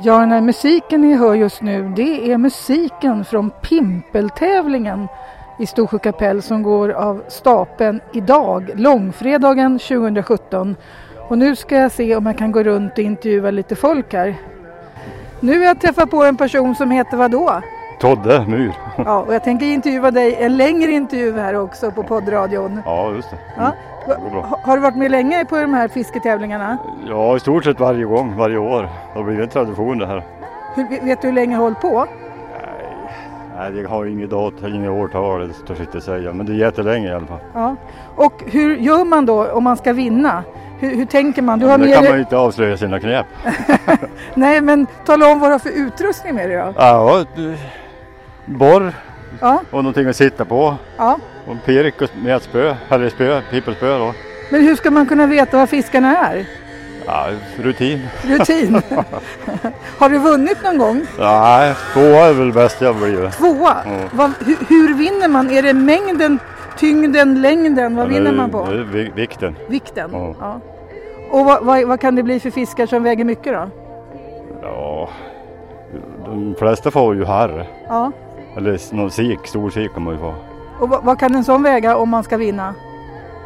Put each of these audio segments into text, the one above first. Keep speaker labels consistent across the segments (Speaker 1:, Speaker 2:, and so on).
Speaker 1: Ja, nej, musiken ni hör just nu det är musiken från Pimpeltävlingen i Storsjö kapell som går av stapeln idag, långfredagen 2017. Och nu ska jag se om jag kan gå runt och intervjua lite folk här. Nu har jag träffat på en person som heter vadå?
Speaker 2: Todde Myr.
Speaker 1: Ja, och jag tänker intervjua dig, en längre intervju här också på poddradion.
Speaker 2: Ja, just det. Mm.
Speaker 1: Ja.
Speaker 2: Det går bra.
Speaker 1: Ha- Har du varit med länge på de här fisketävlingarna?
Speaker 2: Ja, i stort sett varje gång, varje år. Det har blivit en tradition det här.
Speaker 1: Hur, vet du hur länge du har hållit på?
Speaker 2: Nej, jag har inget årtal, inget årtal, det törs jag inte säga. Men det är jättelänge i alla fall.
Speaker 1: Ja. Och hur gör man då om man ska vinna? Hur, hur tänker man? Du har
Speaker 2: Men
Speaker 1: med
Speaker 2: det kan man
Speaker 1: dig...
Speaker 2: ju inte avslöja sina knep.
Speaker 1: Nej, men tala om vad du har för utrustning med dig då.
Speaker 2: Ja, du- borr
Speaker 1: Ja,
Speaker 2: och någonting att sitta på.
Speaker 1: ja.
Speaker 2: Och en pirk och med ett spö, eller spö, pippelspö då.
Speaker 1: Men hur ska man kunna veta vad fiskarna är?
Speaker 2: Ja, rutin.
Speaker 1: Rutin. har du vunnit någon gång?
Speaker 2: Nej, tvåa är väl bäst jag blivit.
Speaker 1: Tvåa.
Speaker 2: Ja.
Speaker 1: Vad, hur, hur vinner man? Är det mängden, tyngden, längden? Vad vinner man på?
Speaker 2: Det är eh, vi- vikten.
Speaker 1: Vikten?
Speaker 2: Ja.
Speaker 1: Ja. Och vad, vad, vad kan det bli för fiskar som väger mycket då?
Speaker 2: Ja, de flesta får ju harr.
Speaker 1: Ja.
Speaker 2: Eller någon sik, stor sik kan man ju få.
Speaker 1: Och vad, vad kan en sån väga om man ska vinna?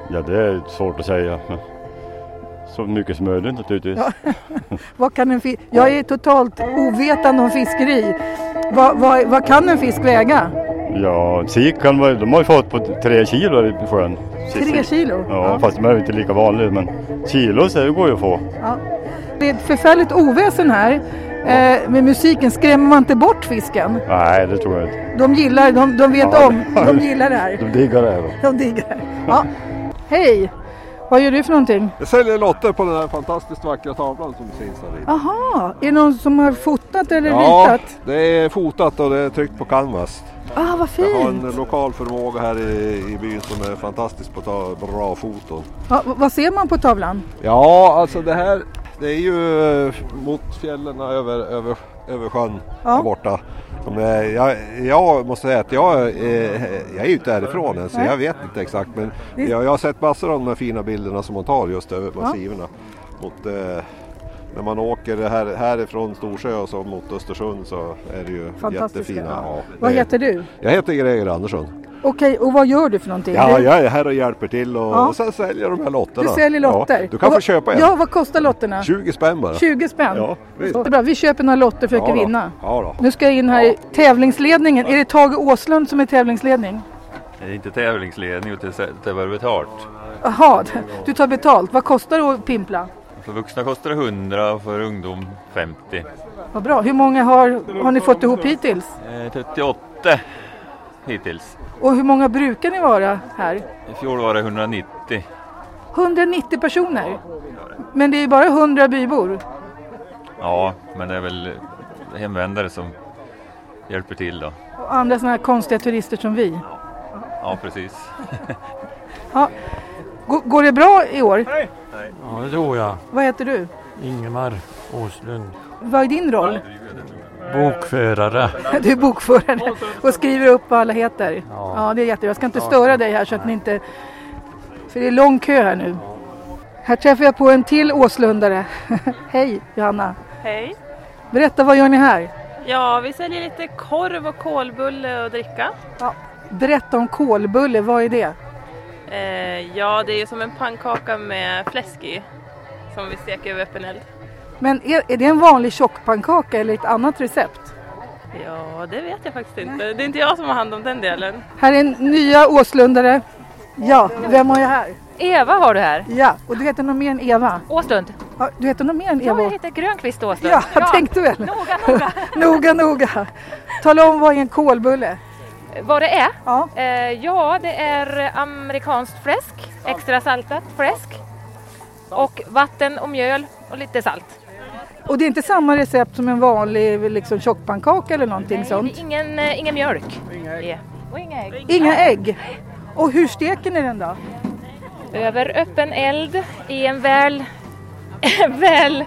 Speaker 2: Ja det är svårt att säga. men Så mycket som möjligt naturligtvis.
Speaker 1: Ja. Vad kan en fi- Jag är totalt ovetande om fiskeri. Vad, vad, vad kan en fisk väga?
Speaker 2: Ja, sik kan man, de har ju fått på tre kilo i sjön.
Speaker 1: Tre kilo?
Speaker 2: Ja, fast de är ju inte lika vanliga men kilo så det går ju att få.
Speaker 1: Ja. Det är ett förfärligt oväsen här eh, med musiken. Skrämmer man inte bort fisken?
Speaker 2: Nej det tror jag inte.
Speaker 1: De gillar, de, de vet
Speaker 2: Ja.
Speaker 1: om, de gillar det här.
Speaker 2: De diggar det här då.
Speaker 1: De diggar det. Ja. Hej! Vad gör du för någonting?
Speaker 3: Jag säljer lotter på den här fantastiskt vackra tavlan som syns här inne.
Speaker 1: Aha, är det någon som har fotat eller ritat?
Speaker 3: det är fotat och det är tryckt på canvas.
Speaker 1: Ah, vad
Speaker 3: Jag har en
Speaker 1: fint!
Speaker 3: lokal förmåga här i, i byn som är fantastisk på att ta bra foton.
Speaker 1: Ja, v- vad ser man på tavlan?
Speaker 3: Ja, alltså det här det är ju eh, mot fjällen över, över, över sjön
Speaker 1: Ja.
Speaker 3: där borta. Som är, jag, jag måste säga att jag, eh, jag är ju inte härifrån än så
Speaker 1: Nej.
Speaker 3: jag vet inte exakt men
Speaker 1: Det-
Speaker 3: jag, jag har sett massor av de här fina bilderna som man tar just över massiverna. Mot, eh, när man åker här, härifrån Storsjö och så mot Östersund så är det ju
Speaker 1: Fantastiska.
Speaker 3: jättefina. Ja,
Speaker 1: Vad
Speaker 3: det-
Speaker 1: heter du?
Speaker 3: Jag heter Greger Andersson.
Speaker 1: Okej, och vad gör du för någonting?
Speaker 3: Ja,
Speaker 1: Du-
Speaker 3: jag är här och hjälper till och,
Speaker 1: Ja.
Speaker 3: och sen säljer de här lotterna.
Speaker 1: Du säljer lotter?
Speaker 3: Ja, du kan
Speaker 1: Och
Speaker 3: få
Speaker 1: vad-
Speaker 3: köpa en.
Speaker 1: Ja, vad kostar lotterna?
Speaker 3: 20 spänn bara.
Speaker 1: 20 spänn?
Speaker 3: Ja, visst.
Speaker 1: Det är bra. Vi köper några lotter och försöker
Speaker 3: Ja då.
Speaker 1: vinna.
Speaker 3: Ja då.
Speaker 1: Nu ska jag in här i tävlingsledningen. Är det Tage Åslund som är tävlingsledning?
Speaker 4: Det är inte tävlingsledning utan det var betalt.
Speaker 1: Jaha, du tar betalt. Vad kostar det att pimpla?
Speaker 4: För vuxna kostar det 100 och för ungdom 50.
Speaker 1: Vad bra. Hur många har, har ni fått ihop hittills?
Speaker 4: Eh, 38 hittills.
Speaker 1: Och hur många brukar ni vara här?
Speaker 4: I fjol var det 190.
Speaker 1: 190 personer. Men det är ju bara 100 bybor.
Speaker 4: Ja, men det är väl hemvändare som hjälper till då.
Speaker 1: Och andra sådana här konstiga turister som vi.
Speaker 4: Ja, precis.
Speaker 1: Går, går det bra i år?
Speaker 5: Ja, det tror jag.
Speaker 1: Vad heter du?
Speaker 5: Ingemar Åslund.
Speaker 1: Vad är din roll?
Speaker 5: Bokförare.
Speaker 1: Du är bokförare och skriver upp vad alla heter.
Speaker 5: Ja.
Speaker 1: Ja, det är jättebra. Jag ska inte störa dig här så att ni inte... För det är lång kö här nu. Här träffar jag på en till Åslundare. Hej Johanna!
Speaker 6: Hej!
Speaker 1: Berätta, vad gör ni här?
Speaker 6: Ja, vi säljer lite korv och kolbulle och dricka.
Speaker 1: Berätta om kolbulle, vad är det?
Speaker 6: Eh, ja, det är ju som en pannkaka med fläsk i som vi steker över öppen eld.
Speaker 1: Men är, är det en vanlig tjockpannkaka eller ett annat recept?
Speaker 6: Ja, det vet jag faktiskt inte. Det är inte jag som har hand om den delen.
Speaker 1: Här är en nya Åslundare. Ja, vem har jag här?
Speaker 7: Eva har du här.
Speaker 1: Ja, och du heter nog mer än Eva.
Speaker 7: Åslund.
Speaker 1: Ja, du heter nog mer än
Speaker 7: Ja,
Speaker 1: Eva.
Speaker 7: jag heter Grönqvist Åslund.
Speaker 1: Ja, jag tänkte väl.
Speaker 7: Noga, noga.
Speaker 1: Noga, noga. Tala om vad är en kolbulle?
Speaker 7: Vad det är?
Speaker 1: Ja.
Speaker 7: Eh, ja, det är amerikanskt fläsk, extra saltat fläsk och vatten och mjöl och lite salt.
Speaker 1: Och det är inte samma recept som en vanlig liksom, tjockpannkaka eller någonting
Speaker 7: Nej,
Speaker 1: sånt?
Speaker 7: det är ingen, eh, ingen mjölk. Inga ägg. Och inga ägg.
Speaker 1: Inga ägg? Och hur steker ni den då?
Speaker 7: Över öppen eld i en väl, väl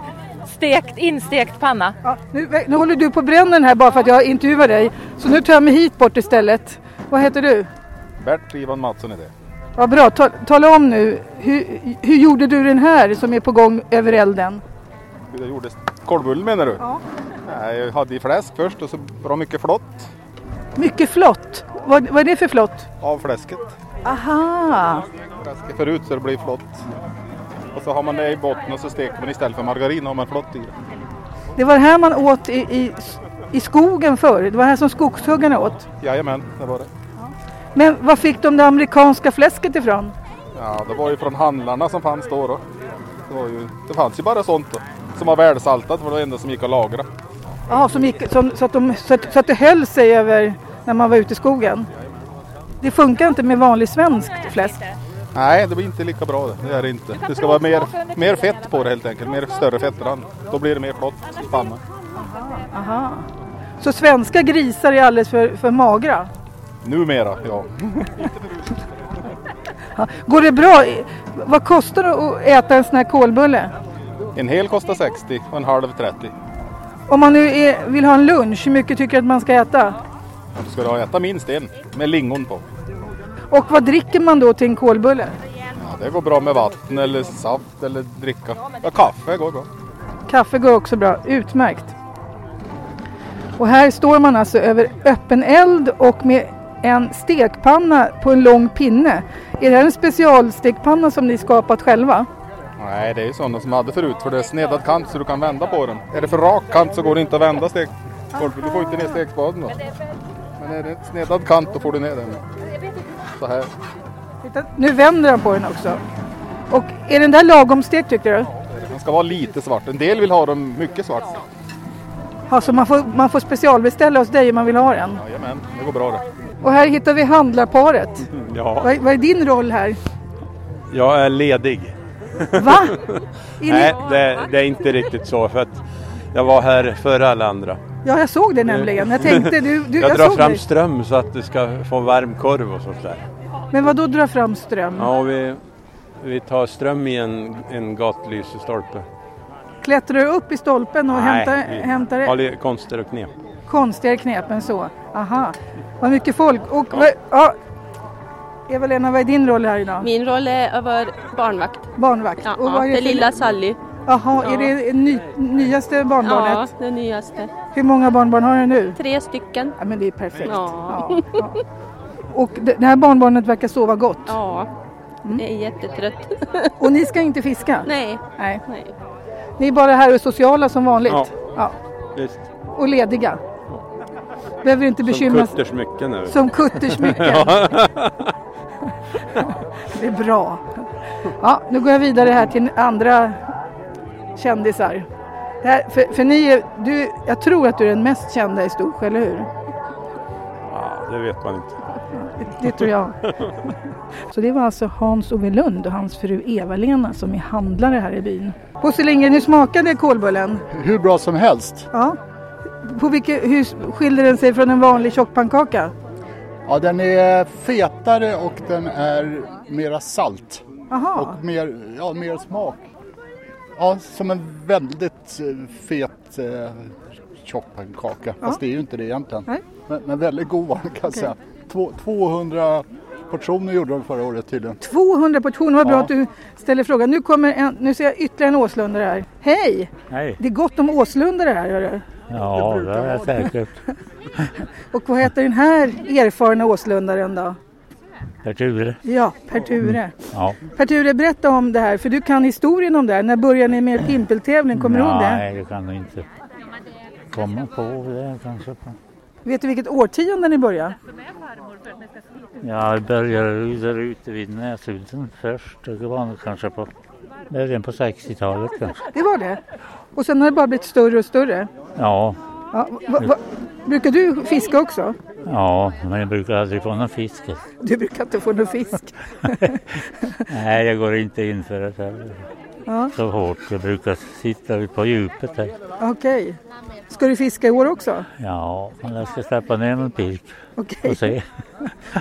Speaker 7: stekt, instekt panna.
Speaker 1: Ja, nu, nu håller du på brännen här bara för att jag intervjuar dig. Så nu tar jag mig hit bort istället. Vad heter du?
Speaker 8: Bert Ivan Mattsson är det.
Speaker 1: Vad bra. Ta, tala om nu. Hur, hur gjorde du den här som är på gång över elden?
Speaker 8: Hur jag gjorde kolvbullen menar du?
Speaker 1: Ja.
Speaker 8: Nej, Jag hade i fläsk först och så bra mycket flott
Speaker 1: Mycket flott. Vad, vad är det för flott?
Speaker 8: av fläsket.
Speaker 1: Aha!
Speaker 8: Fläsket förut så det blir flott. Och så har man det i botten och så steker man istället för margarin har man flott i det.
Speaker 1: Det var det här man åt i, i, i skogen förr. Det var det här som skogshuggarna åt.
Speaker 8: Jajamän, det var det.
Speaker 1: Men var fick de det amerikanska fläsket ifrån?
Speaker 8: Ja, det var ju från handlarna som fanns då. då. Det, var ju, det fanns ju bara sånt då. Som var välsaltat, var det enda som gick att lagra.
Speaker 1: Jaha, som gick, som, så, att de, så, att, så att det höll sig över när man var ute i skogen. Det funkar inte med vanlig svensk fläsk.
Speaker 8: Nej, det blir inte lika bra det. Det är det inte. Det ska vara mer, mer fett på det helt enkelt. Mer större fettrand. Då blir det mer flott i pannan.
Speaker 1: Ah, Aha. Så svenska grisar är alldeles för, för magra?
Speaker 8: Numera, ja.
Speaker 1: Ja. Går det bra? i- Vad kostar det att äta en sån här kolbulle?
Speaker 8: En hel kostar 60 och en halv 30.
Speaker 1: Om man nu är, vill ha en lunch, hur mycket tycker du att man ska äta?
Speaker 8: Ja, Då ska du ha äta minst en med lingon på.
Speaker 1: Och vad dricker man då till en kolbulle?
Speaker 8: Ja, det går bra med vatten eller saft eller dricka. Ja, kaffe går bra.
Speaker 1: Kaffe går också bra, utmärkt. Och här står man alltså över öppen eld och med en stekpanna på en lång pinne. Är det här en specialstekpanna som ni skapat själva?
Speaker 8: Nej, det är ju sådana som jag hade förut för det är snedad kant så du kan vända på den. Är det för rak kant så går det inte att vända steg. Du får inte ner stekspaden då. Men är det en snedad kant då får du ner den. Så här.
Speaker 1: Titta, Nu vänder han på den också. Och är den där lagom stek tycker du?
Speaker 8: Den ska vara lite svart. En del vill ha dem mycket svart.
Speaker 1: Ja, så Alltså, man får, man får specialbeställa hos dig om man vill ha den.
Speaker 8: Jajamän, det går bra det.
Speaker 1: Och här hittar vi handlarparet.
Speaker 9: Ja,
Speaker 1: Vad, vad är din roll här?
Speaker 9: jag är ledig.
Speaker 1: Va? Är ni,
Speaker 9: Nej, det, det är inte riktigt så för att jag var här före alla andra.
Speaker 1: ja, jag såg det nämligen. Jag tänkte, du, du,
Speaker 9: Jag
Speaker 1: jag,
Speaker 9: drar
Speaker 1: såg
Speaker 9: fram
Speaker 1: dig.
Speaker 9: ström så att du ska få varm korv och sånt där.
Speaker 1: Men vad då dra fram ström?
Speaker 9: Ja, och vi, vi tar ström i en, en gatlysestolpe.
Speaker 1: Klättrar du upp i stolpen och hämtar,
Speaker 9: vi
Speaker 1: hämtar
Speaker 9: har lite konster och knep.
Speaker 1: konstigare knep än så? Aha, vad mycket folk. Och, vad- ja. Eva-Lena, vad är din roll här idag?
Speaker 10: Min roll är att vara barnvakt.
Speaker 1: Barnvakt.
Speaker 10: Ja,
Speaker 1: vad
Speaker 10: ja,
Speaker 1: är
Speaker 10: det
Speaker 1: för-
Speaker 10: lilla Sally.
Speaker 1: Jaha, är
Speaker 10: Ja.
Speaker 1: det ny, nyaste
Speaker 10: Ja,
Speaker 1: barnbarnet?
Speaker 10: det nyaste.
Speaker 1: Hur många barnbarn har du nu?
Speaker 10: Tre stycken.
Speaker 1: Ja, men det är perfekt.
Speaker 10: Ja.
Speaker 1: Ja, ja. Och det det här barnbarnet verkar sova gott.
Speaker 10: Ja, jag är jättetrött.
Speaker 1: Mm. Och ni ska inte fiska?
Speaker 10: Nej,
Speaker 1: Nej.
Speaker 10: nej.
Speaker 1: Ni är bara här och är sociala som vanligt?
Speaker 9: Ja.
Speaker 1: ja.
Speaker 9: Visst,
Speaker 1: Och lediga? Behöver inte
Speaker 9: som
Speaker 1: bekymra sig.
Speaker 9: kuttersmycken nu.
Speaker 1: Som kuttersmycken. Det är bra. Ja, nu går jag vidare här till andra kändisar. Det här, för, för ni är, du, jag tror att du är den mest kända i Storsjö, eller hur?
Speaker 9: Ja, det vet man inte.
Speaker 1: Det tror jag. Så det var alltså Hans-Ove Lund och hans fru Eva-Lena som är handlare här i byn. Bosse Lindgren, hur smakade kolbullen?
Speaker 11: Hur bra som helst.
Speaker 1: Ja. På vilket, hur skiljer den sig från en vanlig tjockpannkaka?
Speaker 11: Ja, den är fetare och den är mera salt
Speaker 1: Aha.
Speaker 11: och mer, ja, mer smak. Ja, som en väldigt eh, fet eh, tjockpannkaka. Fast det är ju inte det egentligen.
Speaker 1: Nej.
Speaker 11: Men, men väldigt god var den kan jag säga. Två, 200 portioner gjorde de förra året tydligen.
Speaker 1: 200 portioner, vad bra
Speaker 11: Ja.
Speaker 1: att du ställer frågan. Nu, kommer en, nu ser jag ytterligare en åslundare här. Hej!
Speaker 12: Hej.
Speaker 1: Det är gott om åslundare här, hörru.
Speaker 12: Ja, det är säkert.
Speaker 1: Och vad heter den här erfarna åslundaren då?
Speaker 12: Det är tur.
Speaker 1: Ja, Per Ture.
Speaker 12: Mm. Ja.
Speaker 1: Per Ture, berätta om det här, för du kan historien om det här. När började ni med pimpeltävling? Kommer du ihåg det?
Speaker 12: Nej, det kan du inte komma på. Det kanske.
Speaker 1: Vet du vilket årtionde ni började?
Speaker 12: Ja, jag började ju där ute vid Näsudden först. Det var nog kanske på början på 60-talet kanske.
Speaker 1: Det var det. Och sen har det bara blivit större och större.
Speaker 12: Ja,
Speaker 1: Ja, va, va, brukar du fiska också?
Speaker 12: ja, men jag brukar aldrig få någon fisk.
Speaker 1: Du brukar inte få någon fisk.
Speaker 12: Nej, jag går inte in för det här.
Speaker 1: Ja.
Speaker 12: så hårt. Jag brukar sitta på djupet här.
Speaker 1: Okej. Ska du fiska i år också?
Speaker 12: Ja, men jag ska släppa ner min pik
Speaker 1: Okej.
Speaker 12: och se.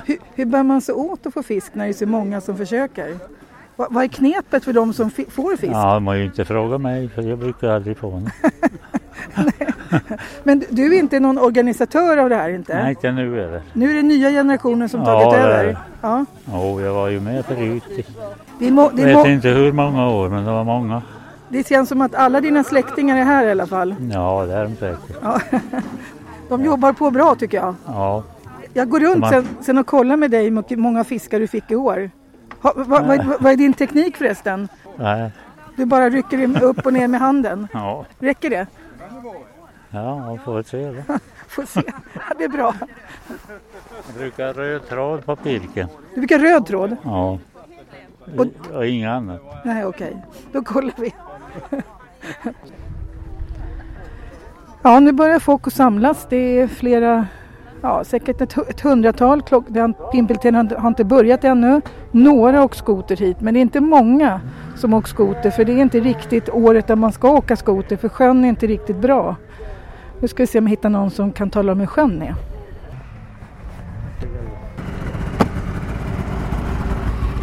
Speaker 1: Hur, hur bär man sig åt att få fisk när det är så många som försöker? Va, vad är knepet för de som fi- får fisk?
Speaker 12: Ja, man ju inte fråga mig för jag brukar aldrig få någon.
Speaker 1: Men du är inte någon organisatör av det här inte?
Speaker 12: Nej, inte nu eller.
Speaker 1: Nu är det nya generationen som
Speaker 12: Ja,
Speaker 1: tagit
Speaker 12: det är
Speaker 1: över.
Speaker 12: det.
Speaker 1: Ja.
Speaker 12: Jo, jag var ju med förut. i-
Speaker 1: Det är må, det är
Speaker 12: Vet
Speaker 1: må,
Speaker 12: inte hur många år, men det var många.
Speaker 1: Det känns som att alla dina släktingar är här i alla fall.
Speaker 8: Ja, det är de säkert.
Speaker 1: Ja. De jobbar på bra tycker jag.
Speaker 8: Ja.
Speaker 1: Jag går runt
Speaker 8: Man-
Speaker 1: sen, sen och kollar med dig hur många fiskar du fick i år. Ha, va, va,
Speaker 8: Nej.
Speaker 1: va, vad är din teknik förresten?
Speaker 8: Nej.
Speaker 1: Du bara rycker in- upp och ner med handen.
Speaker 8: Ja.
Speaker 1: Räcker det?
Speaker 8: Ja, man får väl se då.
Speaker 1: Får se. Ja, det är bra.
Speaker 8: Jag brukar röd tråd på pirken.
Speaker 1: Du brukar röd tråd?
Speaker 8: Ja.
Speaker 1: Och-
Speaker 8: Och inga annat.
Speaker 1: Nej, okej. Då kollar vi. ja, nu börjar folk att samlas. Det är flera, ja säkert ett, hu- ett hundratal. Klock- det har- Pimpelten har, inte- har inte börjat ännu. Några har åkt skoter hit, men det är inte många som åkt skoter för det är inte riktigt året där man ska åka skoter för sjön är inte riktigt bra. Nu ska vi se om jag hittar någon som kan tala om hur sjön är.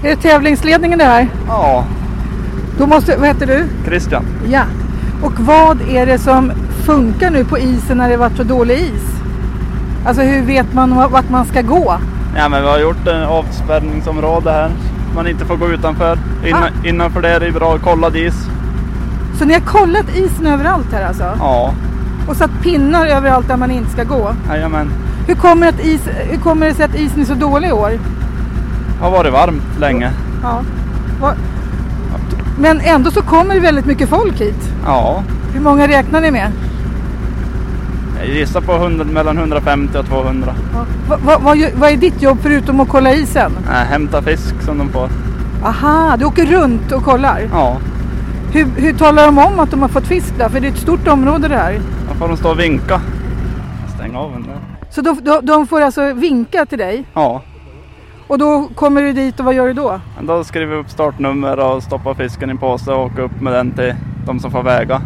Speaker 1: Är det tävlingsledningen det här?
Speaker 13: Ja.
Speaker 1: Då måste, vad heter du?
Speaker 13: Christian.
Speaker 1: Ja. Och vad är det som funkar nu på isen när det varit så dålig is? Alltså hur vet man va- vart man ska gå?
Speaker 13: Ja, men vi har gjort en avspärrningsområde här. Man inte får gå utanför. Inna, Innanför det är det bra kollad is.
Speaker 1: Så ni har kollat isen överallt här alltså?
Speaker 13: Ja,
Speaker 1: Och satt pinnar överallt där man inte ska gå?
Speaker 13: jajamän.
Speaker 1: Hur kommer, att is, hur kommer det sig att isen är så dålig i år?
Speaker 13: Har varit varmt länge.
Speaker 1: Ja. Va- Men ändå så kommer det väldigt mycket folk hit.
Speaker 13: Ja,
Speaker 1: Hur många räknar ni med?
Speaker 13: jag gissar på 100, mellan 150 och 200.
Speaker 1: Va, va, vad gö- vad är ditt jobb förutom att kolla isen?
Speaker 13: Nej, hämta fisk som de får.
Speaker 1: Aha, du åker runt och kollar?
Speaker 13: Ja,
Speaker 1: Hur, hur talar de om att de har fått fisk där? För det är ett stort område det här.
Speaker 13: då får de stå och vinka. Stäng av den där.
Speaker 1: Så de, de, de får alltså vinka till dig
Speaker 13: Ja,
Speaker 1: och då kommer du dit och vad gör du då?
Speaker 13: men då skriver vi upp startnummer och stoppar fisken i en påse och åker upp med den till de som får väga.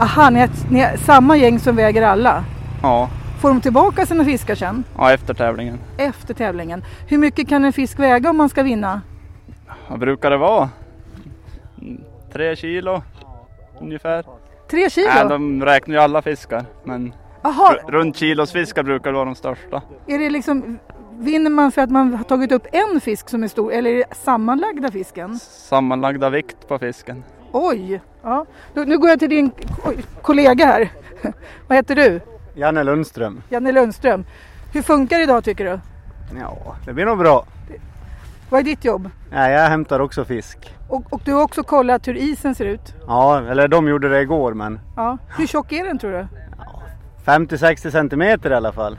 Speaker 1: Aha, ni är, ett- ni är samma gäng som väger alla.
Speaker 13: Ja,
Speaker 1: Får de tillbaka sina fiskar sen?
Speaker 13: ja efter tävlingen.
Speaker 1: Efter tävlingen. Hur mycket kan en fisk väga om man ska vinna?
Speaker 13: Vad brukar det vara? Mm, Tre kilo ungefär.
Speaker 1: Tre kilo?
Speaker 13: Nej, de räknar ju alla fiskar. Men
Speaker 1: Aha.
Speaker 13: r- runt kilos fiskar brukar vara de största.
Speaker 1: Är det liksom, vinner man för att man har tagit upp en fisk som är stor eller är det sammanlagda fisken?
Speaker 13: Sammanlagda vikt på fisken.
Speaker 1: Oj! Ja. Då, nu går jag till din oj, kollega här. vad heter du?
Speaker 2: Janne Lundström.
Speaker 1: Janne Lundström. Hur funkar det idag tycker du?
Speaker 2: Ja, det blir nog bra.
Speaker 1: Vad är ditt jobb?
Speaker 2: Nej, jag hämtar också fisk.
Speaker 1: Och, och du har också kollat hur isen ser ut.
Speaker 2: Ja, eller de gjorde det igår men
Speaker 1: Ja. Hur tjock är den tror du?
Speaker 2: 50-60 centimeter i alla fall.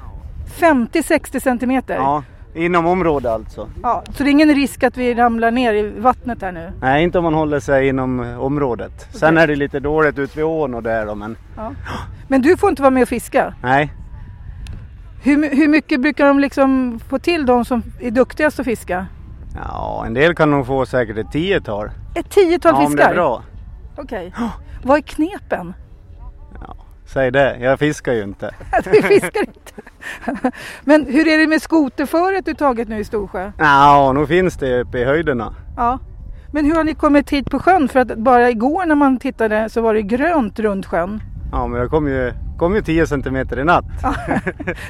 Speaker 1: 50-60 centimeter?
Speaker 2: Ja, inom område alltså.
Speaker 1: Ja, Så det är ingen risk att vi ramlar ner i vattnet här nu?
Speaker 2: Nej, inte om man håller sig inom eh, området. Sen
Speaker 1: Okej.
Speaker 2: är det lite dåligt ut vid ån och där då, men
Speaker 1: Ja. Men du får inte vara med och fiska?
Speaker 2: nej.
Speaker 1: Hur, my- hur mycket brukar de liksom få till de som är duktigast att fiska?
Speaker 2: Ja, en del kan nog få säkert ett tiotal.
Speaker 1: Ett tiotal
Speaker 2: ja,
Speaker 1: fiskar?
Speaker 2: om det är bra.
Speaker 1: Okej. Vad är knepen?
Speaker 2: Säg det, jag fiskar ju inte.
Speaker 1: vi fiskar inte. Men hur är det med skoterföret du tagit nu i Storsjö?
Speaker 2: Ja, nog finns det uppe i höjderna.
Speaker 1: Ja. Men hur har ni kommit hit på sjön? För att bara igår när man tittade så var det grönt runt sjön.
Speaker 2: Ja, men jag kom ju, kom ju 10 centimeter i natt.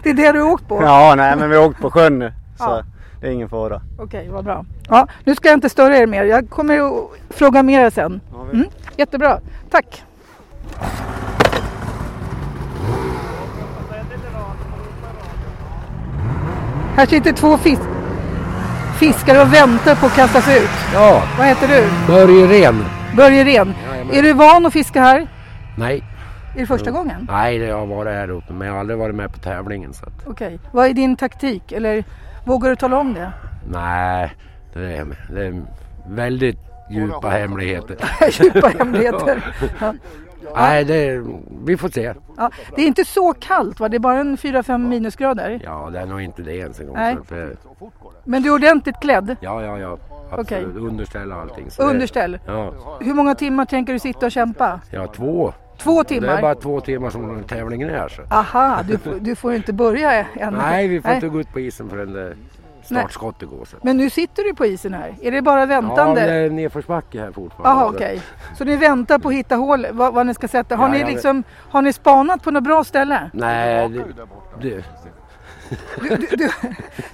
Speaker 1: Det är det du har åkt på?
Speaker 2: Ja, nej men vi har åkt på sjön nu. Så
Speaker 1: Ja.
Speaker 2: det är ingen fara.
Speaker 1: Okej, vad bra. Ja, nu ska jag inte störa er mer. Jag kommer att fråga mer sen. Mm, jättebra, tack. Här sitter två fis- fiskare och väntar på att kastas ut.
Speaker 14: Ja,
Speaker 1: Vad heter du?
Speaker 14: Börje Ren.
Speaker 1: Börje Ren.
Speaker 14: Jajamän.
Speaker 1: Är du van att fiska här?
Speaker 14: Nej.
Speaker 1: Är det första gången?
Speaker 14: Nej, jag har varit här uppe men jag har aldrig varit med på tävlingen. Så att,
Speaker 1: Okej. Vad är din taktik? Eller vågar du tala om det?
Speaker 14: nej, det är, det är väldigt djupa hemligheter.
Speaker 1: Djupa hemligheter. Ja.
Speaker 14: nej, det, vi får se.
Speaker 1: Ja. Det är inte så kallt va? Det är bara en 4-5 minusgrader.
Speaker 14: Ja, det är nog inte det ens en gång.
Speaker 1: Nej.
Speaker 14: så att det-
Speaker 1: Men du är ordentligt klädd?
Speaker 14: Ja, ja, ja. Absolut. Underställ och allting. så det-
Speaker 1: Underställ?
Speaker 14: Ja.
Speaker 1: Hur många timmar tänker du sitta och kämpa?
Speaker 14: ja, två.
Speaker 1: Två
Speaker 14: Det
Speaker 1: timmar?
Speaker 14: är bara två timmar som tävlingen är. Så.
Speaker 1: Aha, du, får- du får ju inte börja än.
Speaker 14: Nej, vi får inte gå ut på isen förrän det startskottet går. Så.
Speaker 1: Men nu sitter du på isen här. Är det bara
Speaker 14: Ja,
Speaker 1: väntande?
Speaker 14: det är nedförsbacke här fortfarande.
Speaker 1: Jaha, okej. Så ni väntar på att hitta hål, vad, vad ni ska sätta. Har,
Speaker 14: Ja,
Speaker 1: ni
Speaker 14: jag vet.
Speaker 1: liksom, har ni spanat på något bra ställe?
Speaker 14: Nej, det, det,
Speaker 1: Du, du, du,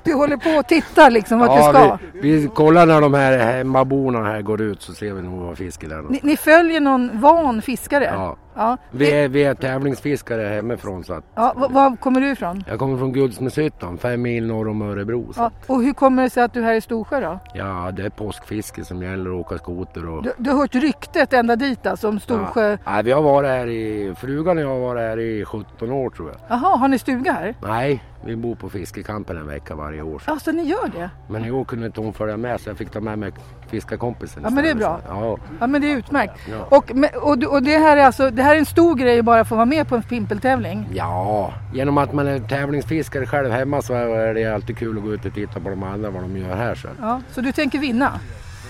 Speaker 1: du håller på och tittar liksom vart du ska.
Speaker 14: vi, vi kollar när de här hemmaborna här går ut så ser vi nog vad fisken är.
Speaker 1: Ni, ni följer någon van fiskare?
Speaker 14: Ja.
Speaker 1: ja.
Speaker 14: Vi är, vi är tävlingsfiskare hemifrån så att
Speaker 1: ja var, var kommer du ifrån?
Speaker 14: jag kommer från Guldsmedshyttan, fem mil norr om Örebro. Så.
Speaker 1: Ja. Och hur kommer det sig att du är här i Storsjö då?
Speaker 14: Ja, det är påskfiske som gäller, åka skoter och...
Speaker 1: Du, du har hört ryktet ända dit alltså om Storsjö?
Speaker 14: Ja. Nej, vi har varit här i, frugan och jag har varit här i 17 år tror jag.
Speaker 1: Jaha, har ni stuga här?
Speaker 14: Nej, vi bor på fiskekampen en vecka varje år. Så.
Speaker 1: Ja, så Alltså, ni gör det?
Speaker 14: Men i år kunde inte hon följa med så jag fick ta med mig fiskarkompisen
Speaker 1: Ja, men det är
Speaker 14: istället. liksom.
Speaker 1: bra.
Speaker 14: Ja.
Speaker 1: Ja men det är utmärkt.
Speaker 14: Ja.
Speaker 1: Och, men- och, du- och det här är alltså, det här är en stor grej bara att få vara med på en pimpeltävling?
Speaker 14: ja, genom att man är tävlingsfiskare själv hemma så är det alltid kul att gå ut och titta på de andra vad de gör här. Så.
Speaker 1: Ja, så du tänker vinna?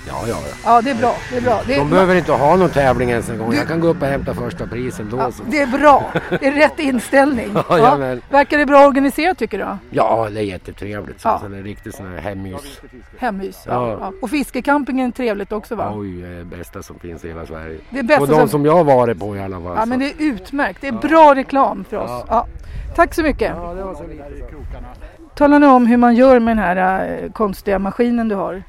Speaker 14: Ja, ja, ja.
Speaker 1: Ja det är bra, det är bra. Det är,
Speaker 14: De behöver inte ha någon tävling ens en gång. Jag kan gå upp och hämta första prisen då. Så.
Speaker 1: det är bra, det är rätt inställning.
Speaker 14: Ja, jajamän.
Speaker 1: Verkar det bra organiserat tycker du?
Speaker 14: Ja, det är jättetrevligt. Så.
Speaker 1: Ja.
Speaker 14: Så det är riktigt sån här hemmys.
Speaker 1: Hemmys.
Speaker 14: Ja.
Speaker 1: Ja. Och fiskecampingen är trevligt också va?
Speaker 14: Oj, det är det bästa som finns i hela Sverige.
Speaker 1: Det är bästa
Speaker 14: och de
Speaker 1: som-
Speaker 14: som... jag har varit på i alla fall.
Speaker 1: Ja
Speaker 14: så.
Speaker 1: men det är utmärkt, det är bra reklam för oss.
Speaker 14: Ja.
Speaker 1: Ja. Tack så mycket.
Speaker 14: det var så lite.
Speaker 1: Tala nu om hur man gör med den här eh, konstiga maskinen du har.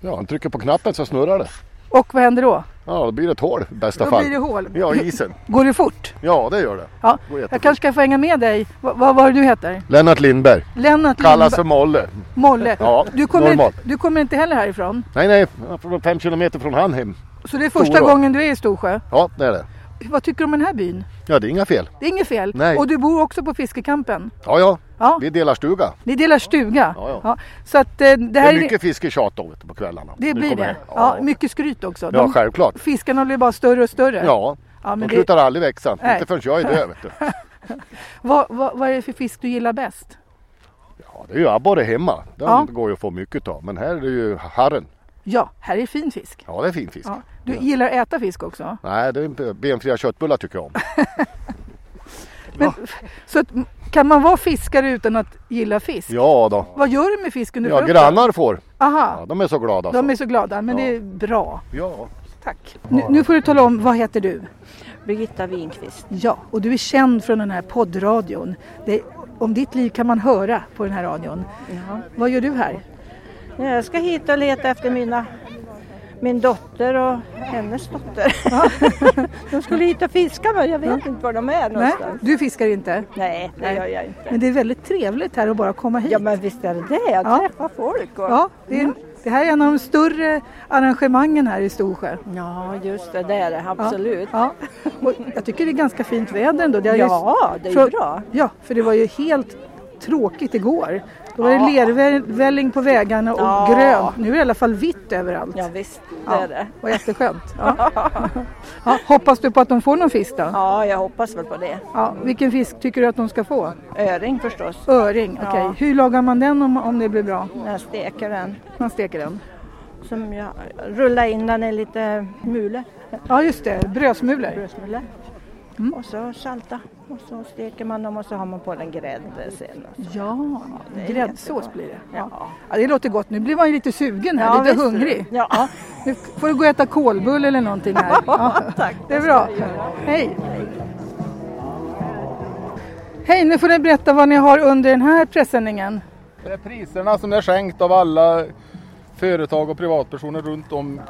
Speaker 15: Ja, han trycker på knappen så snurrar det.
Speaker 1: Och vad händer då?
Speaker 15: Ja, då blir det ett hål i bästa
Speaker 1: Då
Speaker 15: fall.
Speaker 1: blir det hål.
Speaker 15: Ja, i isen.
Speaker 1: Går det fort?
Speaker 15: Ja, det gör det.
Speaker 1: Ja.
Speaker 15: Går
Speaker 1: Jag
Speaker 15: jättefort.
Speaker 1: kanske ska få hänga med dig. Vad va, vad var det du heter?
Speaker 15: Lennart Lindberg.
Speaker 1: Lennart
Speaker 15: Kallas
Speaker 1: Lindberg.
Speaker 15: för Molle.
Speaker 1: Molle.
Speaker 15: Ja,
Speaker 1: du, kommer
Speaker 15: normal.
Speaker 1: inte, du kommer inte heller härifrån.
Speaker 15: Nej, nej. jag får vara Fem kilometer från han hem.
Speaker 1: Så det är första
Speaker 15: Storå.
Speaker 1: gången du är i Storsjö.
Speaker 15: Ja, det är det.
Speaker 1: Vad tycker du om den här byn?
Speaker 15: Ja, det är inga fel.
Speaker 1: Det är inget fel.
Speaker 15: Nej.
Speaker 1: Och du bor också på fiskekampen.
Speaker 15: Ja, ja.
Speaker 1: Ja.
Speaker 15: Vi delar stuga.
Speaker 1: Ni delar stuga.
Speaker 15: Ja, ja.
Speaker 1: Så att eh,
Speaker 15: Det,
Speaker 1: det här
Speaker 15: är mycket fisketjat då vet du, på kvällarna.
Speaker 1: det
Speaker 15: Nu
Speaker 1: blir
Speaker 15: kommer
Speaker 1: det.
Speaker 15: Ja,
Speaker 1: Ja, mycket skryt också.
Speaker 15: ja självklart.
Speaker 1: Fiskarna blir bara större och större.
Speaker 15: Ja,
Speaker 1: Ja, men
Speaker 15: de
Speaker 1: det-
Speaker 15: slutar aldrig växa.
Speaker 1: Nej.
Speaker 15: Inte förrän jag är död. Vet du.
Speaker 1: Vad, vad, vad är det för fisk du gillar bäst?
Speaker 15: Ja, det är ju abborre hemma. Den
Speaker 1: Ja.
Speaker 15: går ju att få mycket av. Men här är det ju harren.
Speaker 1: Ja, här är fin fisk.
Speaker 15: Ja, det är fin fisk.
Speaker 1: Ja. Du gillar att äta fisk också.
Speaker 15: Nej, det är benfria köttbullar tycker jag om.
Speaker 1: Men, så att, kan man vara fiskare utan att gilla fisk?
Speaker 15: Ja då.
Speaker 1: Vad gör du med fisken du
Speaker 15: Ja,
Speaker 1: får upp
Speaker 15: grannar får.
Speaker 1: den? Aha,
Speaker 15: Ja, de är så glada. så.
Speaker 1: de är så glada. Men
Speaker 15: Ja.
Speaker 1: det är bra.
Speaker 15: Ja.
Speaker 1: Tack. Nu, nu får du tala om, vad heter du?
Speaker 10: Birgitta Winqvist.
Speaker 1: Ja, och du är känd från den här poddradion. Det, om ditt liv kan man höra på den här radion.
Speaker 10: Ja.
Speaker 1: Vad gör du här?
Speaker 10: Jag ska hit och leta efter mina, min dotter och hennes dotter. de skulle hit och fiska men jag vet inte var de är
Speaker 1: Nej,
Speaker 10: någonstans.
Speaker 1: du fiskar inte?
Speaker 10: Nej, det gör jag inte.
Speaker 1: Men det är väldigt trevligt här att bara komma hit. Ja, men visst är det det.
Speaker 10: Jag träffar folk. Och...
Speaker 1: Ja, det, är, det här är en av de större arrangemangen här i Storsjö.
Speaker 10: ja, just det, det är det absolut.
Speaker 1: Ja, ja. Och jag tycker det är ganska fint väder ändå. har ju-
Speaker 10: Ja, det är ju
Speaker 1: från-
Speaker 10: bra.
Speaker 1: Ja, för det var ju helt tråkigt igår. Då var det lervälling på vägarna och
Speaker 10: Ja.
Speaker 1: grönt. Nu är det i alla fall vitt överallt. Ja,
Speaker 10: visst,
Speaker 1: det
Speaker 10: är det.
Speaker 1: Vad jätteskönt. Ja. ja, hoppas du på att de får någon fisk då?
Speaker 10: Ja, jag hoppas väl på det.
Speaker 1: Ja, vilken fisk tycker du att de ska få?
Speaker 10: Öring förstås.
Speaker 1: Öring, okej.
Speaker 10: Ja.
Speaker 1: Hur lagar man den om, om det blir bra?
Speaker 10: Jag steker den.
Speaker 1: Man steker den?
Speaker 10: Som jag rullar in den i lite mule.
Speaker 1: Ja, just det. Brödsmulor.
Speaker 10: Brödsmulor. Och så salta. Och så steker man dem och så har man på den grädde sen. och så.
Speaker 1: Ja,
Speaker 10: det är
Speaker 1: gräddsås
Speaker 10: jättebra.
Speaker 1: blir det. Ja. ja, det låter gott. Nu blir man ju lite sugen här,
Speaker 10: Ja,
Speaker 1: lite
Speaker 10: visst är det.
Speaker 1: hungrig.
Speaker 10: Ja.
Speaker 1: Nu får du gå och äta kolbulle eller någonting här. Ja,
Speaker 10: Tack,
Speaker 1: det är bra. Hej! Hej, nu får ni berätta vad ni har under den här pressändningen.
Speaker 8: Det är priserna som är skänkt av alla företag och privatpersoner runt om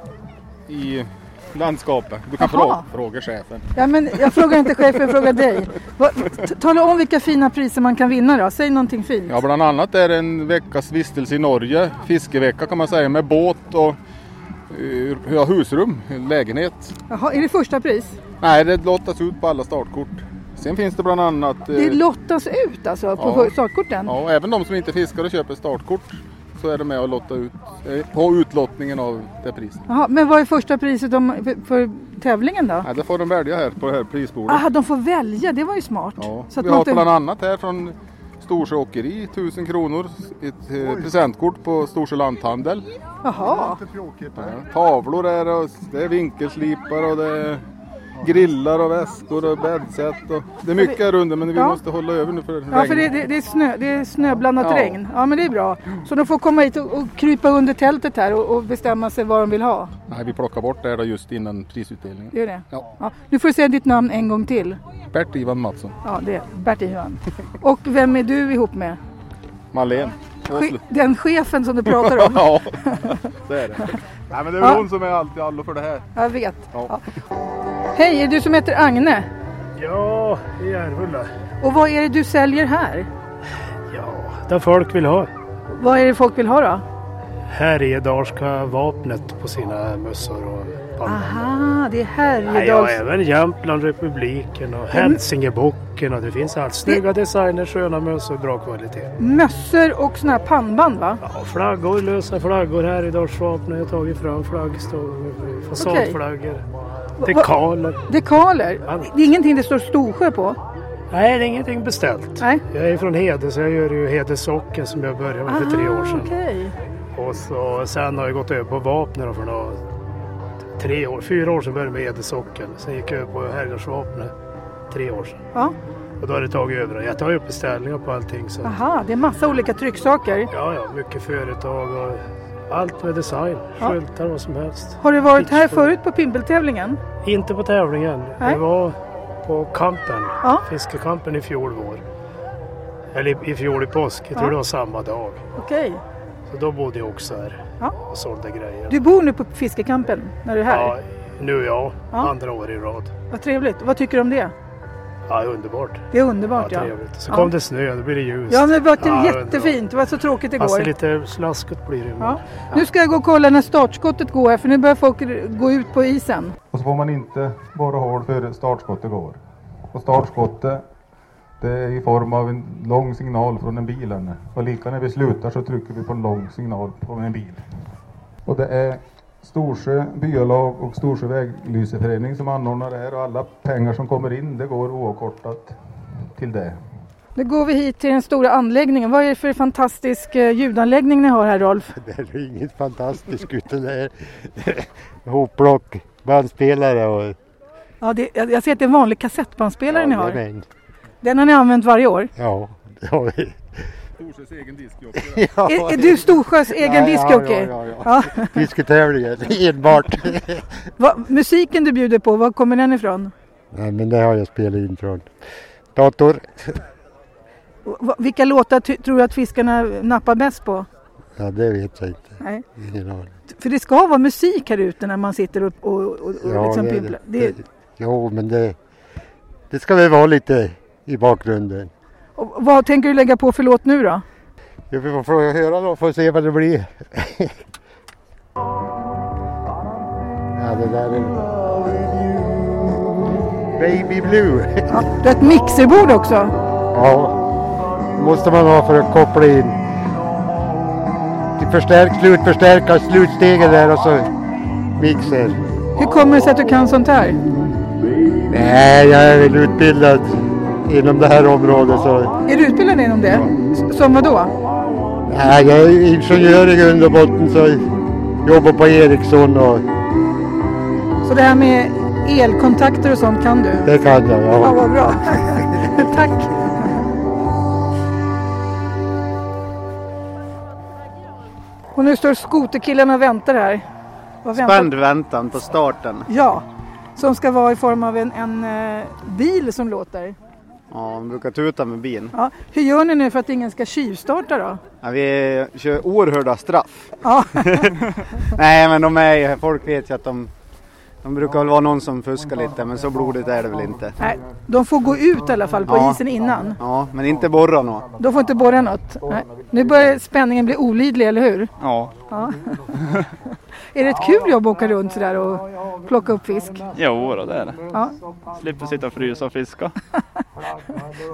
Speaker 8: i landskapet. Du kan
Speaker 1: Jaha.
Speaker 8: fråga, fråga chefen.
Speaker 1: Ja, men jag frågar inte chefen, jag frågar dig. Vad- t- Tala om vilka fina priser man kan vinna då. Säg någonting fint.
Speaker 8: Ja, bland annat är det en veckas vistelse i Norge, fiskevecka kan man säga, med båt och eh, ja, husrum, lägenhet.
Speaker 1: Jaha, är det första pris?
Speaker 8: Nej, det lottas ut på alla startkort. Sen finns det bland annat... eh,
Speaker 1: Det lottas ut alltså på
Speaker 8: Ja.
Speaker 1: startkorten?
Speaker 8: Ja, och även de som inte fiskar och köper startkort så är de med och lottar ut eh, på utlottningen av det priset.
Speaker 1: Jaha, men vad är första priset om, för, för tävlingen då?
Speaker 8: Ja, det får de välja här på det här prisbordet.
Speaker 1: Ah, de får välja, det var ju smart.
Speaker 8: Ja.
Speaker 1: Så att
Speaker 8: vi
Speaker 1: man
Speaker 8: har
Speaker 1: inte-
Speaker 8: bland annat här från Storsjö Åkeri 1000 kronor, ett eh, presentkort på Storsjö Lanthandel.
Speaker 1: Jaha.
Speaker 8: Ja, tavlor är det, och det är vinkelslipar och det är grillar och väskor och bäddsätt. Och... Det är mycket här under men vi
Speaker 1: Ja.
Speaker 8: måste hålla över nu för det
Speaker 1: Ja, för det, det, det, är snö, det är snöblandat
Speaker 8: Ja.
Speaker 1: regn. Ja, men det är bra. Så de får komma hit och, och krypa under tältet här och, och bestämma sig vad de vill ha.
Speaker 8: Nej, vi plockar bort det här då just innan prisutdelningen.
Speaker 1: Det är det?
Speaker 8: Ja.
Speaker 1: Nu får du säga ditt namn en gång till.
Speaker 8: Bert-Ivan Mattsson.
Speaker 1: Ja, det är Bert Johan. Och vem är du ihop med?
Speaker 16: Marlene.
Speaker 1: Che- Den chefen som du pratar om.
Speaker 16: ja, det är det. Nej, men det är väl
Speaker 1: Ja.
Speaker 16: hon som är allt i allo för det här.
Speaker 1: Jag vet.
Speaker 16: Ja.
Speaker 1: Hej, är du som heter Agne?
Speaker 17: Ja, i Järvulla.
Speaker 1: Och vad är det du säljer här?
Speaker 17: Där folk vill ha.
Speaker 1: Vad är det folk vill ha då?
Speaker 17: Härjedalska vapnet på sina mössor och pannband.
Speaker 1: Aha, det är
Speaker 17: Nej, Ja,
Speaker 1: Härjedals...
Speaker 17: även Jämtland, Republiken och Hälsingebocken och det finns allt. Snygga designers, sköna mössor, bra kvalitet.
Speaker 1: Mössor och såna här pannband va? Ja,
Speaker 17: Flaggor, lösa flaggor, Härjedalsvapnet har jag tagit fram, flaggstång, fasadflaggor, dekaler.
Speaker 1: Dekaler? Det är ingenting det står Storsjö på?
Speaker 17: Nej, det är ingenting beställt.
Speaker 1: Nej.
Speaker 17: Jag är från Hede så jag gör ju Hedesocken som jag började med för tre
Speaker 1: Ah.
Speaker 17: år sedan.
Speaker 1: Okej.
Speaker 17: Och så, sen har jag gått över på vapnen då för några, tre år, fyra år sedan började jag med Edesocken. Sen gick jag över på Herrgårdsvapnet tre år sedan.
Speaker 1: Ja.
Speaker 17: Och då har det tagit över. Jag tar ju upp beställningar på allting. Så.
Speaker 1: Aha, det är massa olika trycksaker.
Speaker 17: Ja, ja, mycket företag och allt med design.
Speaker 1: Ja.
Speaker 17: Skyltar, vad som helst.
Speaker 1: Har du varit här
Speaker 17: Pitchfork.
Speaker 1: förut på pimpeltävlingen?
Speaker 17: Inte på tävlingen.
Speaker 1: Nej.
Speaker 17: Det var på kampen, fiskekampen i fjol vår. Eller i- i fjol i påsk, jag tror
Speaker 1: Ja.
Speaker 17: det var samma dag.
Speaker 1: Okej.
Speaker 17: Så då bodde jag också här och sålde grejer.
Speaker 1: Du bor nu på fiskekampen när du är här?
Speaker 17: Ja, nu ja,
Speaker 1: Ja.
Speaker 17: andra år i rad.
Speaker 1: Vad trevligt. Vad tycker du om det?
Speaker 17: Ja, underbart.
Speaker 1: Det är underbart ja.
Speaker 17: trevligt. Så
Speaker 1: Ja.
Speaker 17: kom det snö, då blir det ljust.
Speaker 1: Ja, men det var
Speaker 17: Ja,
Speaker 1: jättefint. Det var så tråkigt
Speaker 17: underbart. Fast
Speaker 1: igår.
Speaker 17: lite slaskigt blir det. men-
Speaker 1: Ja. Nu ska jag gå och kolla när startskottet går här för nu börjar folk gå ut på isen.
Speaker 8: Och så får man inte borra hål före startskottet går. Och startskottet det är i form av en lång signal från en bil. Anne. Och lika när vi slutar så trycker vi på en lång signal från en bil. Och det är Storsjö byalag och Storsjö väglyseförening som anordnar det här och alla pengar som kommer in det går oavkortat till det.
Speaker 1: Nu går vi hit till den stora anläggningen. Vad är det för fantastisk eh, ljudanläggning ni har här Rolf?
Speaker 18: Det är ju inget fantastiskt utan det är hopplock, bandspelare och...
Speaker 1: Ja, det, jag jag ser att det är en vanlig kassettbandspelare ni har.
Speaker 18: Jajamän.
Speaker 1: Den har ni använt varje år.
Speaker 18: Ja, det har vi.
Speaker 16: Storsjös egen diskjobb.
Speaker 18: Ja,
Speaker 1: Är, är du Storsjös
Speaker 18: Ja,
Speaker 1: egen
Speaker 18: ja,
Speaker 1: discjockey?
Speaker 18: ja, ja, ja. Fisketävlingen, enbart.
Speaker 1: Va, musiken du bjuder på, var kommer den ifrån?
Speaker 18: Nej, men det har jag spelat in från dator.
Speaker 1: Och Va, vilka låtar ty, tror du att fiskarna nappar bäst på?
Speaker 18: Ja, det vet jag inte.
Speaker 1: Nej.
Speaker 18: Ingen aning.
Speaker 1: För det ska vara musik här ute när man sitter och, och, och, och
Speaker 18: Ja,
Speaker 1: liksom
Speaker 18: det-
Speaker 1: pimplar. Det,
Speaker 18: Jo, men det, det ska väl vara lite i bakgrunden.
Speaker 1: och vad tänker du lägga på för låt nu då?
Speaker 18: Vi får få höra då, får se vad det blir. ja, det där är... Baby Blue.
Speaker 1: Du har ett mixerbord också.
Speaker 18: Ja, det måste man ha för att koppla in. Till förstärk, slutförstärka slutstegen där och så mixer.
Speaker 1: Hur kommer det sig att du kan sånt här?
Speaker 18: Nej, jag är väl utbildad inom det här området så...
Speaker 1: Är du utbildad inom det? S- Som vad då?
Speaker 18: Nej, jag är ingenjör i grund och botten så jag jobbar på Ericsson och
Speaker 1: Så det här med elkontakter och sånt kan du?
Speaker 18: det kan jag.
Speaker 1: Ja,
Speaker 18: Ja.
Speaker 1: vad bra. Tack. Och nu står skoterkillarna och väntar här. Vad väntar-
Speaker 19: Spänd väntan på starten.
Speaker 1: Ja, som ska vara i form av en, en eh, bil som låter.
Speaker 19: Ja, de brukar tuta med bin.
Speaker 1: Ja. Hur gör ni nu för att ingen ska tjuvstarta då?
Speaker 19: Ja, vi kör oerhörda straff.
Speaker 1: Ja.
Speaker 19: Nej, men de är ju, folk vet ju att de, de brukar väl vara någon som fuskar lite, men så blodigt är det väl inte.
Speaker 1: Nej, de får gå ut i alla fall på
Speaker 19: Ja.
Speaker 1: isen innan.
Speaker 19: Ja, men inte borra nå.
Speaker 1: De får inte borra något. Nej. Nu börjar spänningen bli olidlig, eller hur?
Speaker 19: Ja.
Speaker 1: Ja. är det ett kul jobb att åka runt sådär och plocka upp fisk?
Speaker 13: Jo, då, det är det.
Speaker 1: Ja.
Speaker 13: Slipper sitta och frysa och fiska.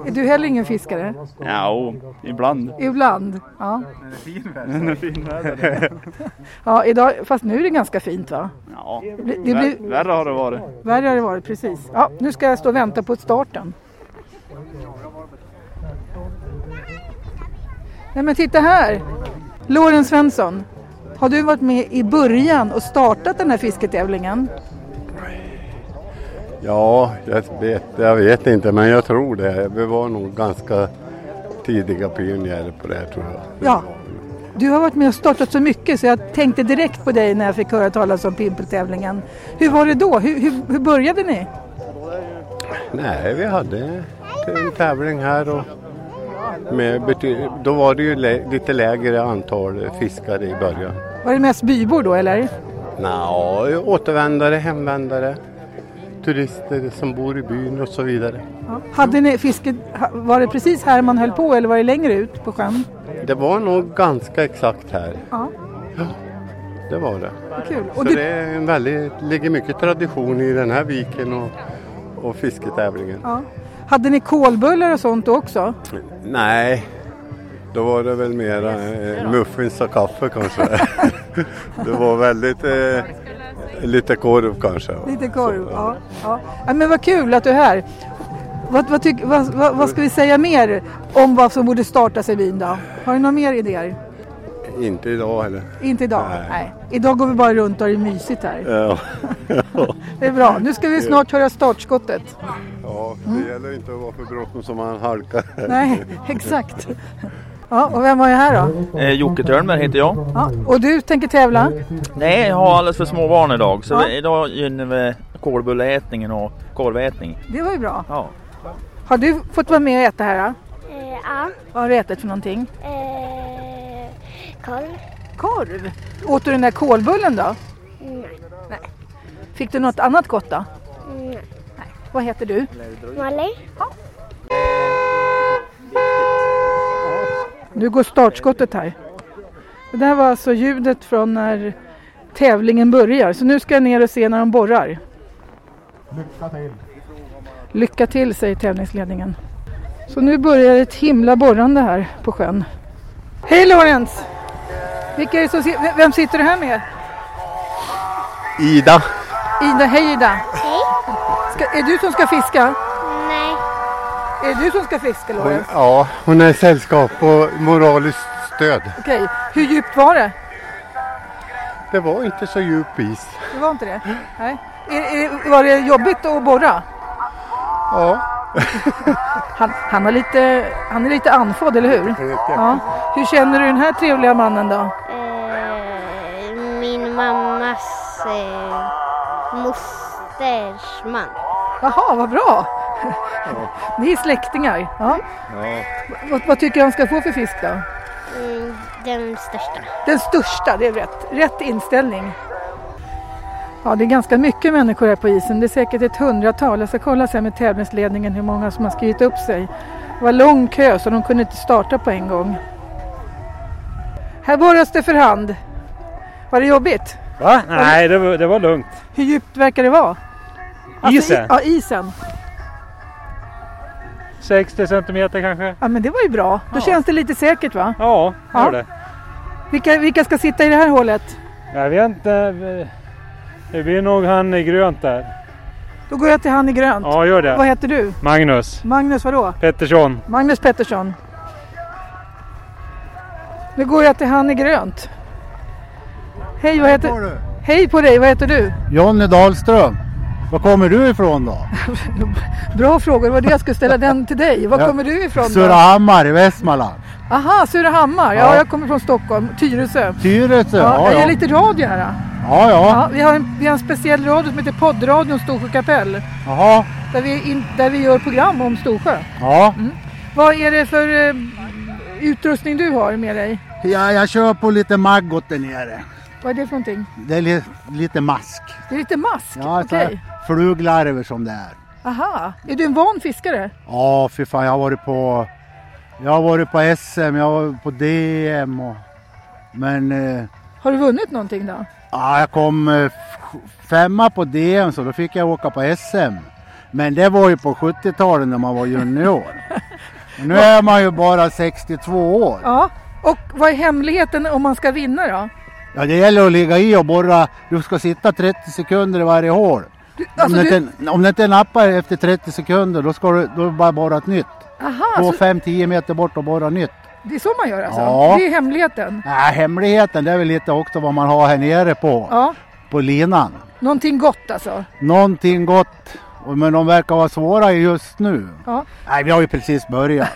Speaker 1: Är du heller ingen fiskare?
Speaker 13: Ja, ibland.
Speaker 1: Ibland. Ja.
Speaker 13: När det är fin väder.
Speaker 1: Ja, idag, fast nu är det ganska fint va?
Speaker 13: Ja,
Speaker 1: Det blir-
Speaker 13: vär- värre har det varit.
Speaker 1: Värre har det varit, precis. Ja, nu ska jag stå och vänta på starten. Nej men titta här! Loren Svensson, har du varit med i början och startat den här fisketävlingen?
Speaker 20: Ja, jag vet, jag vet inte, men jag tror det. Vi var nog ganska tidiga pionjärer på det här tror jag.
Speaker 1: Ja. Du har varit med och startat så mycket så jag tänkte direkt på dig när jag fick höra talas om pimpeltävlingen. Hur var det då? Hur, hur, hur började ni?
Speaker 20: Nej, vi hade en tävling här och
Speaker 19: Med bety- då var det ju lä- lite lägre antal fiskare i början.
Speaker 1: Var det mest bybor då eller?
Speaker 19: Nja, återvändare, hemvändare, turister som bor i byn och så vidare.
Speaker 1: Ja. Hade ni fisket, ha- var det precis här man höll på eller var det längre ut på sjön?
Speaker 19: Det var nog ganska exakt här.
Speaker 1: Ja,
Speaker 19: Det var det.
Speaker 1: kul.
Speaker 19: Så
Speaker 1: Och
Speaker 19: det
Speaker 1: det,
Speaker 19: är en väldigt, ligger mycket tradition i den här viken och, och fisketävlingen.
Speaker 1: ja. Hade ni kolbullar och sånt då också?
Speaker 19: Nej, då var det väl mera eh, muffins och kaffe kanske. det var väldigt eh, lite korv kanske.
Speaker 1: Lite korv? Ja. ja. ja men vad kul att du är här. Vad, vad, tyck, vad, vad, vad ska vi säga mer om vad som borde startas i byn då? Har du några mer idéer?
Speaker 19: Inte idag heller.
Speaker 1: Inte idag?
Speaker 19: Nej.
Speaker 1: Idag går vi bara runt och har det mysigt här.
Speaker 19: Ja,
Speaker 1: Det är bra. Nu ska vi snart höra startskottet.
Speaker 19: ja det gäller inte att vara för bråttom som man halkar.
Speaker 1: Nej, exakt. Ja, och vem var jag här då?
Speaker 13: Eh, Jocke Törnberg heter jag.
Speaker 1: Ja, och du tänker tävla?
Speaker 13: Nej, jag har alldeles för små barn idag så
Speaker 1: Ja.
Speaker 13: vi, idag gynnar vi kolbulleätningen och korvätning.
Speaker 1: Det var ju bra.
Speaker 13: Ja.
Speaker 1: Har du fått vara med och äta här? Då?
Speaker 16: Eh, Ja, Eh,
Speaker 1: Vad har du ätit för någonting?
Speaker 16: korv.
Speaker 1: Korv? Åt du den där kolbullen då?
Speaker 16: Nej.
Speaker 1: Fick du något annat gott då?
Speaker 16: Nej.
Speaker 1: Vad heter du?
Speaker 16: Molly?
Speaker 1: Nu går startskottet här. Det där var alltså ljudet från när tävlingen börjar. Så nu ska jag ner och se när de borrar.
Speaker 12: Lycka till!
Speaker 1: Lycka till säger tävlingsledningen. Så nu börjar ett himla borrande här på sjön. Hej Lorenz! Vilka är det som, si- v- vem sitter du här med?
Speaker 20: Ida.
Speaker 1: Ida, hej Ida! Hej! Ska, är du som ska fiska?
Speaker 16: Nej.
Speaker 1: Är det du som ska fiska Lorenz?
Speaker 20: Ja, hon är sällskap och moraliskt stöd.
Speaker 1: Okej, hur djupt var det?
Speaker 19: Det var inte så djup is.
Speaker 1: Det var inte det? Nej. Är, är, var det jobbigt att borra?
Speaker 20: Ja.
Speaker 1: han, han, har lite, han är lite andfådd, eller hur? Ja. Hur känner du den här trevliga mannen då?
Speaker 16: Eh, Min mammas eh, mosters man.
Speaker 1: Jaha, vad bra! Ni är släktingar. Ja.
Speaker 20: Ja.
Speaker 1: Vad, vad tycker du han ska få för fisk då?
Speaker 16: Mm, Den största.
Speaker 1: Den största, det är rätt. Rätt inställning. Ja, det är ganska mycket människor här på isen. Det är säkert ett hundratal. Jag ska kolla sen med tävlingsledningen hur många som har skrivit upp sig. Det var lång kö så de kunde inte starta på en gång. Här borras det för hand. Var det jobbigt?
Speaker 3: Va? Nej, det var, det var lugnt.
Speaker 1: Hur djupt verkar det vara? Alltså,
Speaker 3: Isen?
Speaker 1: I, ja, isen.
Speaker 3: 60 centimeter kanske?
Speaker 1: Ja, men det var ju bra. Då känns det lite säkert va?
Speaker 3: Ja, det
Speaker 1: Ja.
Speaker 3: var det.
Speaker 1: Vilka, vilka ska sitta i det här hålet?
Speaker 3: Jag vet inte. vi- Det blir nog han i grönt där.
Speaker 1: Då går jag till han i grönt.
Speaker 3: Ja, gör det.
Speaker 1: Vad heter du?
Speaker 3: Magnus.
Speaker 1: Magnus vadå?
Speaker 3: Pettersson.
Speaker 1: Magnus Pettersson. Nu går jag till han i grönt. Hej, vad
Speaker 21: på
Speaker 1: heter... Hej på dig, vad heter du?
Speaker 21: Jonny Dahlström, var kommer du ifrån då?
Speaker 1: Bra frågor, det var det jag skulle ställa den till dig. Var
Speaker 21: Ja,
Speaker 1: kommer du ifrån? då?
Speaker 21: Surahammar i Västmanland.
Speaker 1: Aha, Surahammar. Ja.
Speaker 21: Ja.
Speaker 1: jag kommer från Stockholm, Tyresö.
Speaker 21: Tyresö,
Speaker 1: Ja,
Speaker 21: ja,
Speaker 1: jag
Speaker 21: ja.
Speaker 1: gör lite radio här. ja.
Speaker 21: Ja, ja.
Speaker 1: vi, har en, vi har en speciell radio som heter Poddradion Storsjö kapell.
Speaker 21: Jaha,
Speaker 1: Där vi, in, där vi gör program om Storsjö.
Speaker 21: ja.
Speaker 1: Mm. Vad är det för eh, utrustning du har med dig?
Speaker 21: ja. Jag kör på lite maggot där nere.
Speaker 1: Vad är det för någonting?
Speaker 21: Det är li- lite mask.
Speaker 1: Det är lite mask?
Speaker 21: Ja, så
Speaker 1: Okej.
Speaker 21: här fluglarver som det är.
Speaker 1: Aha. Är du en van fiskare?
Speaker 21: Ja, fy fan, jag har varit på... Jag har varit på SM, jag har varit på DM och... Men... Eh,
Speaker 1: Har du vunnit någonting då?
Speaker 21: Ja, jag kom eh, f- femma på DM så då fick jag åka på SM. Men det var ju på 70-talet när man var junior. Och nu är man ju bara 62 år.
Speaker 1: Ja. Och vad är hemligheten om man ska vinna då?
Speaker 21: Ja, det gäller att ligga i och borra. Du ska sitta 30 sekunder i varje hål.
Speaker 1: alltså
Speaker 21: om, det
Speaker 1: du-
Speaker 21: inte, om det inte nappar efter 30 sekunder då ska du, då är det bara borra ett nytt.
Speaker 1: Aha,
Speaker 21: Gå
Speaker 1: så
Speaker 21: 5-10 meter bort och borra nytt.
Speaker 1: det är så man gör alltså?
Speaker 21: Ja.
Speaker 1: Det är hemligheten?
Speaker 21: Nej, hemligheten det är väl lite också vad man har här nere på,
Speaker 1: Ja.
Speaker 21: på linan.
Speaker 1: Någonting gott alltså?
Speaker 21: Någonting gott, och- men de verkar vara svåra just nu.
Speaker 1: Ja.
Speaker 21: Nej, vi har ju precis börjat.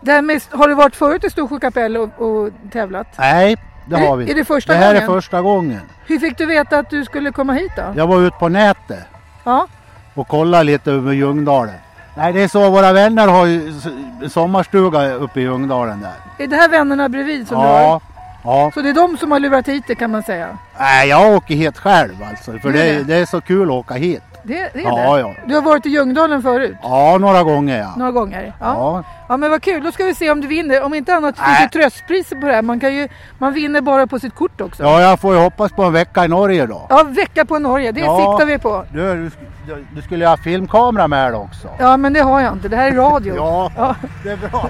Speaker 1: Därmed, har du varit förut i Storsjö kapell och, och tävlat?
Speaker 21: Nej, det
Speaker 1: Är det-
Speaker 21: har vi
Speaker 1: är det första
Speaker 21: Det här
Speaker 1: gången?
Speaker 21: är första gången.
Speaker 1: Hur fick du veta att du skulle komma hit då?
Speaker 21: Jag var ute på nätet
Speaker 1: Ja.
Speaker 21: och kollade lite över Ljungdalen. Nej, det är så. Våra vänner har ju s- sommarstuga uppe i Ljungdalen där.
Speaker 1: Är det här vännerna bredvid som du har?
Speaker 21: Ja. ja.
Speaker 1: Så det är de som har lurat hit det kan man säga?
Speaker 21: Nej, jag åker hit själv alltså. För
Speaker 1: Du
Speaker 21: det,
Speaker 1: är
Speaker 21: är-
Speaker 1: det?
Speaker 21: det är så kul att åka hit.
Speaker 1: Det, det är
Speaker 21: Ja,
Speaker 1: det?
Speaker 21: ja.
Speaker 1: Du har varit i Ljungdalen förut?
Speaker 21: Ja, några gånger ja.
Speaker 1: Några gånger?
Speaker 21: Ja.
Speaker 1: Ja men vad kul, då ska vi se om du vinner. Om inte annat finns ju tröstpriser på det här. Man, kan ju, man vinner bara på sitt kort också.
Speaker 21: Ja, jag får ju hoppas på en vecka i Norge då.
Speaker 1: Ja, vecka på Norge, det
Speaker 21: Ja.
Speaker 1: siktar vi på.
Speaker 21: Du, du, sk- du skulle ju ha filmkamera med dig också.
Speaker 1: Ja men det har jag inte, det här är radio.
Speaker 21: Ja, det är bra.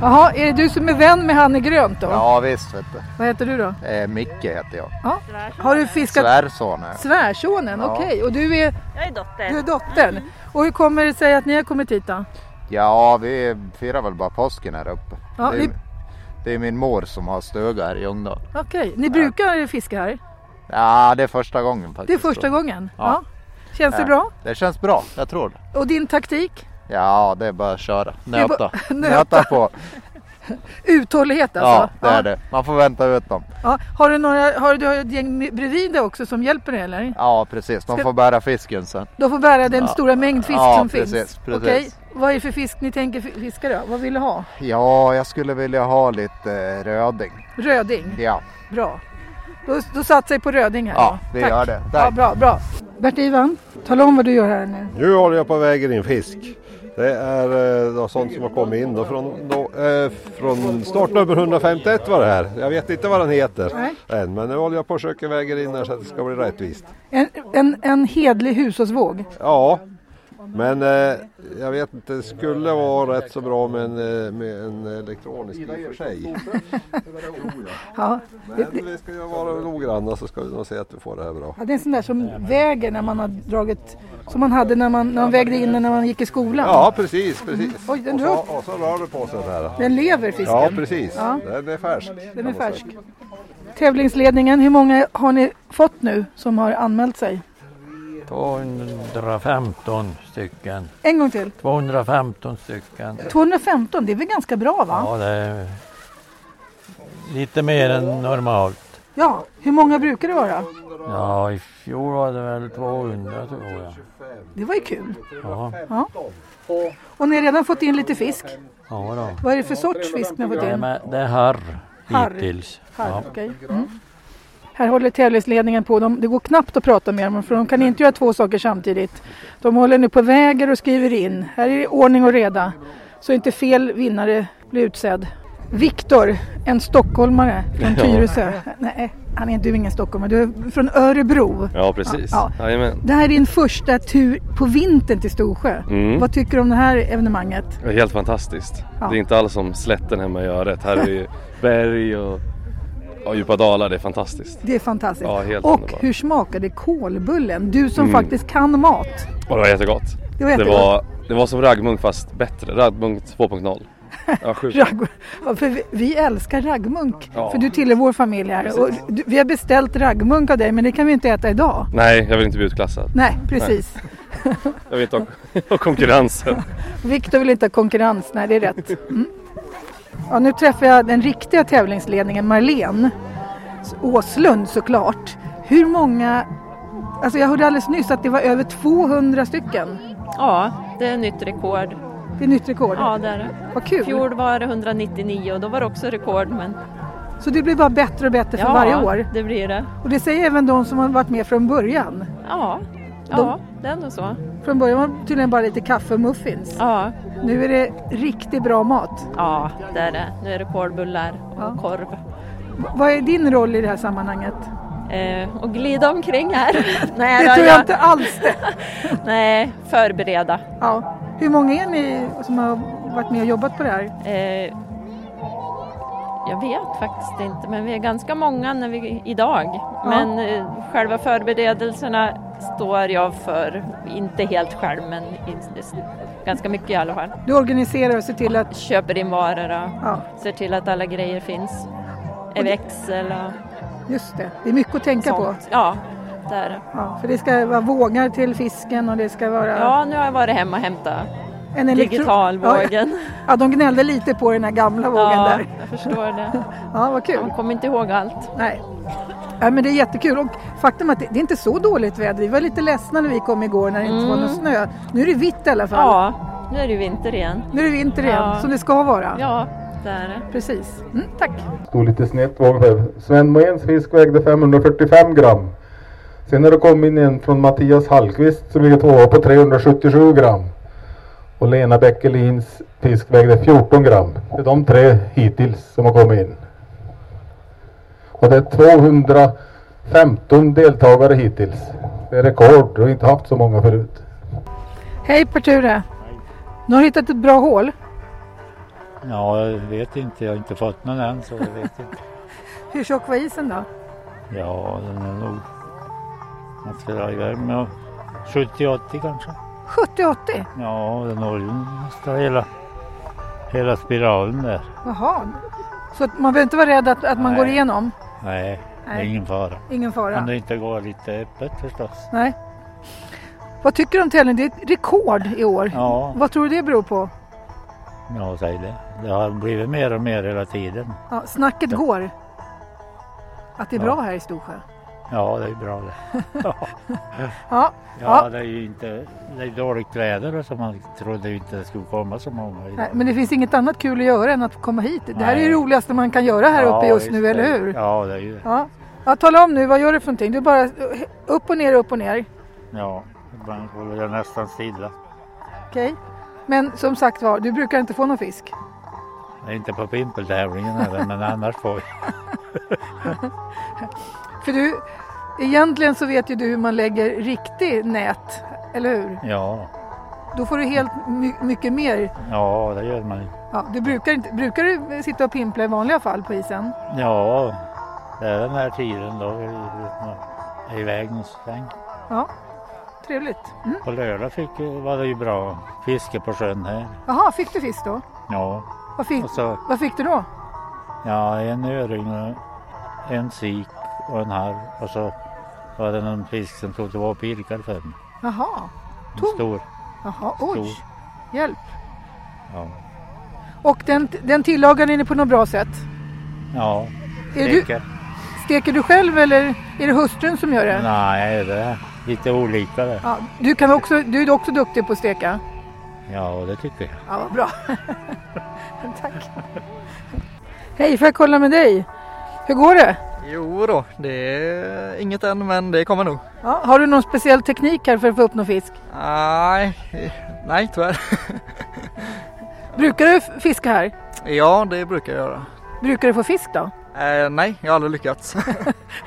Speaker 1: Jaha, är det du som är vän med Hanne Grönt då?
Speaker 22: Ja visst vet du.
Speaker 1: Vad heter du då?
Speaker 22: Eh, Micke heter jag.
Speaker 1: Ja. Har du fiskat?
Speaker 22: Svärson. är jag.
Speaker 1: Svärsonen,
Speaker 22: Ja.
Speaker 1: okej. Och du är? Jag är Mm. dottern. Du är dottern. Och hur kommer det sig att ni har kommit hit då?
Speaker 22: Ja vi firar väl bara påsken här uppe.
Speaker 1: Ja,
Speaker 22: det, är,
Speaker 1: vi-
Speaker 22: det är min mor som har stuga här i Ljungdal.
Speaker 1: Okej, ni brukar fiska här?
Speaker 22: Ja det är första gången
Speaker 1: Det är
Speaker 22: faktiskt.
Speaker 1: första gången?
Speaker 22: Ja.
Speaker 1: Ja. Känns det
Speaker 22: Ja,
Speaker 1: bra?
Speaker 22: Det känns bra, jag tror det.
Speaker 1: Och din taktik?
Speaker 22: Ja det är bara att köra.
Speaker 1: Det är
Speaker 22: Nöta.
Speaker 1: bara- Alltså,
Speaker 22: Nöta på.
Speaker 1: Uthållighet
Speaker 22: Ja
Speaker 1: alltså?
Speaker 22: det är det. Man får vänta ut dem.
Speaker 1: Ja, har du, några, har du ett gäng bredvid dig också som hjälper dig eller?
Speaker 22: Ja precis, de
Speaker 1: Ska-
Speaker 22: får bära fisken sen.
Speaker 1: De får bära den
Speaker 22: Ja.
Speaker 1: stora mängd fisk
Speaker 22: Ja,
Speaker 1: som finns?
Speaker 22: precis, precis.
Speaker 1: Okej, vad är det för fisk ni tänker fi- fiska då? Vad vill du ha?
Speaker 22: Ja jag skulle vilja ha lite eh, röding.
Speaker 1: Röding?
Speaker 22: Ja,
Speaker 1: Bra. Då, då satsar jag på röding här
Speaker 22: ja
Speaker 1: då.
Speaker 22: vi
Speaker 1: Tack.
Speaker 22: gör det.
Speaker 1: Ja, bra, bra. Bert-Ivan, tala om vad du gör här nu.
Speaker 3: Nu håller jag på att väga in fisk. Det är eh, då sånt som har kommit in då från, då, eh, från startnummer 151 var det här. Jag vet inte vad den heter
Speaker 1: Nej.
Speaker 3: än men nu håller jag på att försöka väga in här så att det ska bli rättvist.
Speaker 1: En, en, en hedlig hushållsvåg.
Speaker 3: Ja, men eh, jag vet inte, det skulle vara rätt så bra med en, eh, med en elektronisk i och för sig.
Speaker 1: Ja, det,
Speaker 3: Men
Speaker 1: det,
Speaker 3: vi ska ju vara noggranna så ska vi nog se att vi får det här bra.
Speaker 1: ja, det är en sån där som väger när man har dragit, som man hade när man, när man vägde in den när man gick i skolan.
Speaker 3: Ja, precis, precis.
Speaker 1: Mm. Oj, den
Speaker 3: och, så,
Speaker 1: rör-
Speaker 3: och så rör det på sig här.
Speaker 1: Den lever, fisken.
Speaker 3: Ja, precis.
Speaker 1: Ja.
Speaker 3: Den är färsk. kan
Speaker 1: Den är
Speaker 3: man säga.
Speaker 1: färsk. Tävlingsledningen, hur många har ni fått nu som har anmält sig?
Speaker 5: 215 stycken.
Speaker 1: En gång till.
Speaker 5: 215 stycken.
Speaker 1: 215, det är väl ganska bra va?
Speaker 5: Ja, det är lite mer än normalt.
Speaker 1: Ja, hur många brukar det vara?
Speaker 5: Ja, i fjol var det väl 200 tror jag.
Speaker 1: Det var ju kul.
Speaker 5: Ja,
Speaker 1: Ja. Och ni har redan fått in lite fisk.
Speaker 5: ja då.
Speaker 1: Vad är det för sorts fisk ni har fått
Speaker 5: Det är,
Speaker 1: in?
Speaker 5: med, det är harr
Speaker 1: Harr.
Speaker 5: hittills.
Speaker 1: Här, okej. mm. här håller tävlingsledningen på. De, det går knappt att prata med dem för de kan inte göra två saker samtidigt. De håller nu på och väger och skriver in. Här är det ordning och reda. Så inte fel vinnare blir utsedd. Viktor, en stockholmare från
Speaker 23: Ja.
Speaker 1: Tyresö. Nej, han är, du är ingen stockholmare. Du är från Örebro.
Speaker 23: Ja, precis.
Speaker 1: Ja,
Speaker 23: Jajamän.
Speaker 1: Det här är din första tur på vintern till Storsjö.
Speaker 23: Mm.
Speaker 1: Vad tycker du om det här evenemanget?
Speaker 23: Det är Helt fantastiskt.
Speaker 1: Ja.
Speaker 23: Det är inte alls som slätten hemma i öret. Här är ju berg och, och djupa dalar. Det är fantastiskt.
Speaker 1: Det är fantastiskt.
Speaker 23: Ja, helt
Speaker 1: och
Speaker 23: underbart.
Speaker 1: hur smakade kolbullen? Du som
Speaker 23: Mm.
Speaker 1: faktiskt kan mat.
Speaker 23: Och det var jättegott.
Speaker 1: Det var jättegott.
Speaker 23: Det var, det var som raggmunk fast bättre. Raggmunk 2.0. Ja, sjukt.
Speaker 1: Ragg, ja, för vi, vi älskar raggmunk.
Speaker 23: Ja.
Speaker 1: För du tillhör vår familj här. Och
Speaker 23: Precis.
Speaker 1: du, vi har beställt raggmunk av dig men det kan vi inte äta idag.
Speaker 23: Nej, jag vill inte bli utklassad.
Speaker 1: Nej, precis.
Speaker 23: Nej, jag vet inte konkurrensen.
Speaker 1: Viktor vill inte ha konkurrens. Nej, det är rätt. Mm. Ja, nu träffar jag den riktiga tävlingsledningen Marlene Åslund såklart. Hur många... Alltså jag hörde alldeles nyss att det var över 200 stycken.
Speaker 10: Ja, det är nytt rekord.
Speaker 1: Det är nytt rekord.
Speaker 10: Ja, det är det.
Speaker 1: Vad kul.
Speaker 10: fjol var det 199 och då var det också rekord. Men...
Speaker 1: Så det blir bara bättre och bättre för
Speaker 10: ja,
Speaker 1: varje år.
Speaker 10: det blir det.
Speaker 1: Och det säger även de som har varit med från början.
Speaker 10: Ja, ja det är nog så.
Speaker 1: Från början var det tydligen bara lite kaffe och muffins.
Speaker 10: Ja.
Speaker 1: Nu är det riktigt bra mat.
Speaker 10: Ja, det är det. Nu är det kolbullar och korv.
Speaker 1: V- Vad är din roll i det här sammanhanget?
Speaker 10: Eh, och glida omkring här. Nej,
Speaker 1: det
Speaker 10: då,
Speaker 1: tror jag inte alls det.
Speaker 10: Nej, förbereda.
Speaker 1: Ja. Hur många är ni som har varit med och jobbat på det här?
Speaker 10: Eh, jag vet faktiskt inte, men vi är ganska många när vi, idag. Men eh, själva förberedelserna står jag för, inte helt själv, men i, ganska mycket i alla fall.
Speaker 1: Du organiserar och ser till att...
Speaker 10: Köper in varor och
Speaker 1: Ja.
Speaker 10: ser till att alla grejer finns. En växel och
Speaker 1: Just det, det är mycket att tänka på.
Speaker 10: sånt. Ja, det är det.
Speaker 1: Ja, för det ska vara vågar till fisken och det ska vara...
Speaker 10: Ja, nu har jag varit hemma och hämtat
Speaker 1: En elektro-
Speaker 10: digitalvågen.
Speaker 1: Ja, ja, de gnällde lite på den här gamla vågen
Speaker 10: Ja,
Speaker 1: där.
Speaker 10: jag förstår det.
Speaker 1: Ja, vad kul.
Speaker 10: Man kommer inte ihåg allt.
Speaker 1: Nej. Ja, men det är jättekul och faktum är att det, det är inte så dåligt väder. Vi var lite ledsna när vi kom igår när det inte var någon
Speaker 10: Mm.
Speaker 1: snö. Nu är det vitt i alla fall.
Speaker 10: Ja, nu är det ju vinter igen.
Speaker 1: Nu är det vinter igen,
Speaker 10: Ja.
Speaker 1: som det ska vara.
Speaker 10: Ja, det är det.
Speaker 1: Precis. Mm, tack.
Speaker 8: Stod lite snett var det. här. Sven Moéns fisk vägde 545 gram. Sen när det kom in en från Mattias Hallqvist som ligger tvåa på 377 gram. Och Lena Bäckelins fisk vägde 14 gram. Det är de tre hittills som har kommit in. Och det är 215 deltagare hittills. Det är rekord. Vi har inte haft så många förut.
Speaker 1: Hej Perture! Nu har du hittat ett bra hål.
Speaker 12: Ja, jag vet inte. Jag har inte fått någon än så jag vet inte.
Speaker 1: Hur tjock var isen då?
Speaker 12: Ja, den är nog... Man ska dra iväg med 70-80 kanske.
Speaker 1: 70-80?
Speaker 12: Ja, den håller nästan hela, hela spiralen där.
Speaker 1: Jaha. Så att man behöver inte vara rädd att, att man
Speaker 12: Nej.
Speaker 1: går igenom?
Speaker 12: Nej, det är
Speaker 1: Nej.
Speaker 12: ingen fara.
Speaker 1: Ingen fara.
Speaker 12: Om det inte går lite öppet förstås.
Speaker 1: Nej. Vad tycker du om tävlingen? Det är ett rekord i år.
Speaker 12: Ja.
Speaker 1: Vad tror du det beror på?
Speaker 12: Ja, säg det. Det har blivit mer och mer hela tiden.
Speaker 1: Ja, snacket
Speaker 12: Ja.
Speaker 1: går. Att det är
Speaker 12: Ja.
Speaker 1: bra här i Storsjö.
Speaker 12: Ja, det är bra det.
Speaker 1: Ja.
Speaker 12: Ja,
Speaker 1: Ja.
Speaker 12: det är ju inte, det är dåligt väder och så man trodde ju inte det skulle komma så många. idag.
Speaker 1: Nej, men det finns inget annat kul att göra än att komma hit. Det här är
Speaker 12: Nej.
Speaker 1: det roligaste man kan göra här
Speaker 12: Ja,
Speaker 1: uppe just nu,
Speaker 12: det.
Speaker 1: eller hur?
Speaker 12: Ja, det är ju det.
Speaker 1: Ja. ja. Tala om nu, vad gör du för någonting? Du bara eh, upp och ner, upp och ner.
Speaker 12: Ja, ibland håller jag nästan stilla.
Speaker 1: Okej. Men som sagt var, du brukar inte få någon fisk.
Speaker 12: Jag är inte på pimpeltävlingen heller, men annars får jag.
Speaker 1: För du, egentligen så vet ju du hur man lägger riktig nät, eller hur?
Speaker 12: Ja,
Speaker 1: Då får du helt my- mycket mer.
Speaker 12: ja, det gör man ju.
Speaker 1: Ja, du brukar, inte, brukar du sitta och pimpla i vanliga fall på isen?
Speaker 12: Ja, det är den här tiden då. vi- vi är Iväg en sväng.
Speaker 1: Ja, trevligt. Mm.
Speaker 12: På lördag fick, var det ju bra fiske på sjön här.
Speaker 1: Jaha, fick du fisk då?
Speaker 12: Ja,
Speaker 1: Vad fick,
Speaker 12: och så
Speaker 1: vad fick du då?
Speaker 12: Ja, en öring, och en sik och en harv. Och så var det någon fisk som trodde det var pirkad för mig.
Speaker 1: Jaha,
Speaker 12: En Stor.
Speaker 1: Jaha oj,
Speaker 12: Stor.
Speaker 1: hjälp.
Speaker 12: Ja.
Speaker 1: Och den, den tillagade ni på något bra sätt?
Speaker 12: ja.
Speaker 1: Är du-
Speaker 12: Steker.
Speaker 1: Steker du själv eller är det hustrun som gör det?
Speaker 12: Nej, det är lite olika det.
Speaker 1: Ja, du, kan också, du är också duktig på att steka?
Speaker 12: Ja, det tycker jag.
Speaker 1: Ja, vad bra. Tack. Hej, får jag kolla med dig? Hur går det?
Speaker 24: Jo då, det är inget än men det kommer nog.
Speaker 1: Ja, har du någon speciell teknik här för att få upp någon fisk?
Speaker 24: Nej, nej tyvärr.
Speaker 1: Brukar du f- fiska här?
Speaker 24: Ja, det brukar jag göra.
Speaker 1: Brukar du få fisk då?
Speaker 24: Eh, nej, jag har aldrig lyckats.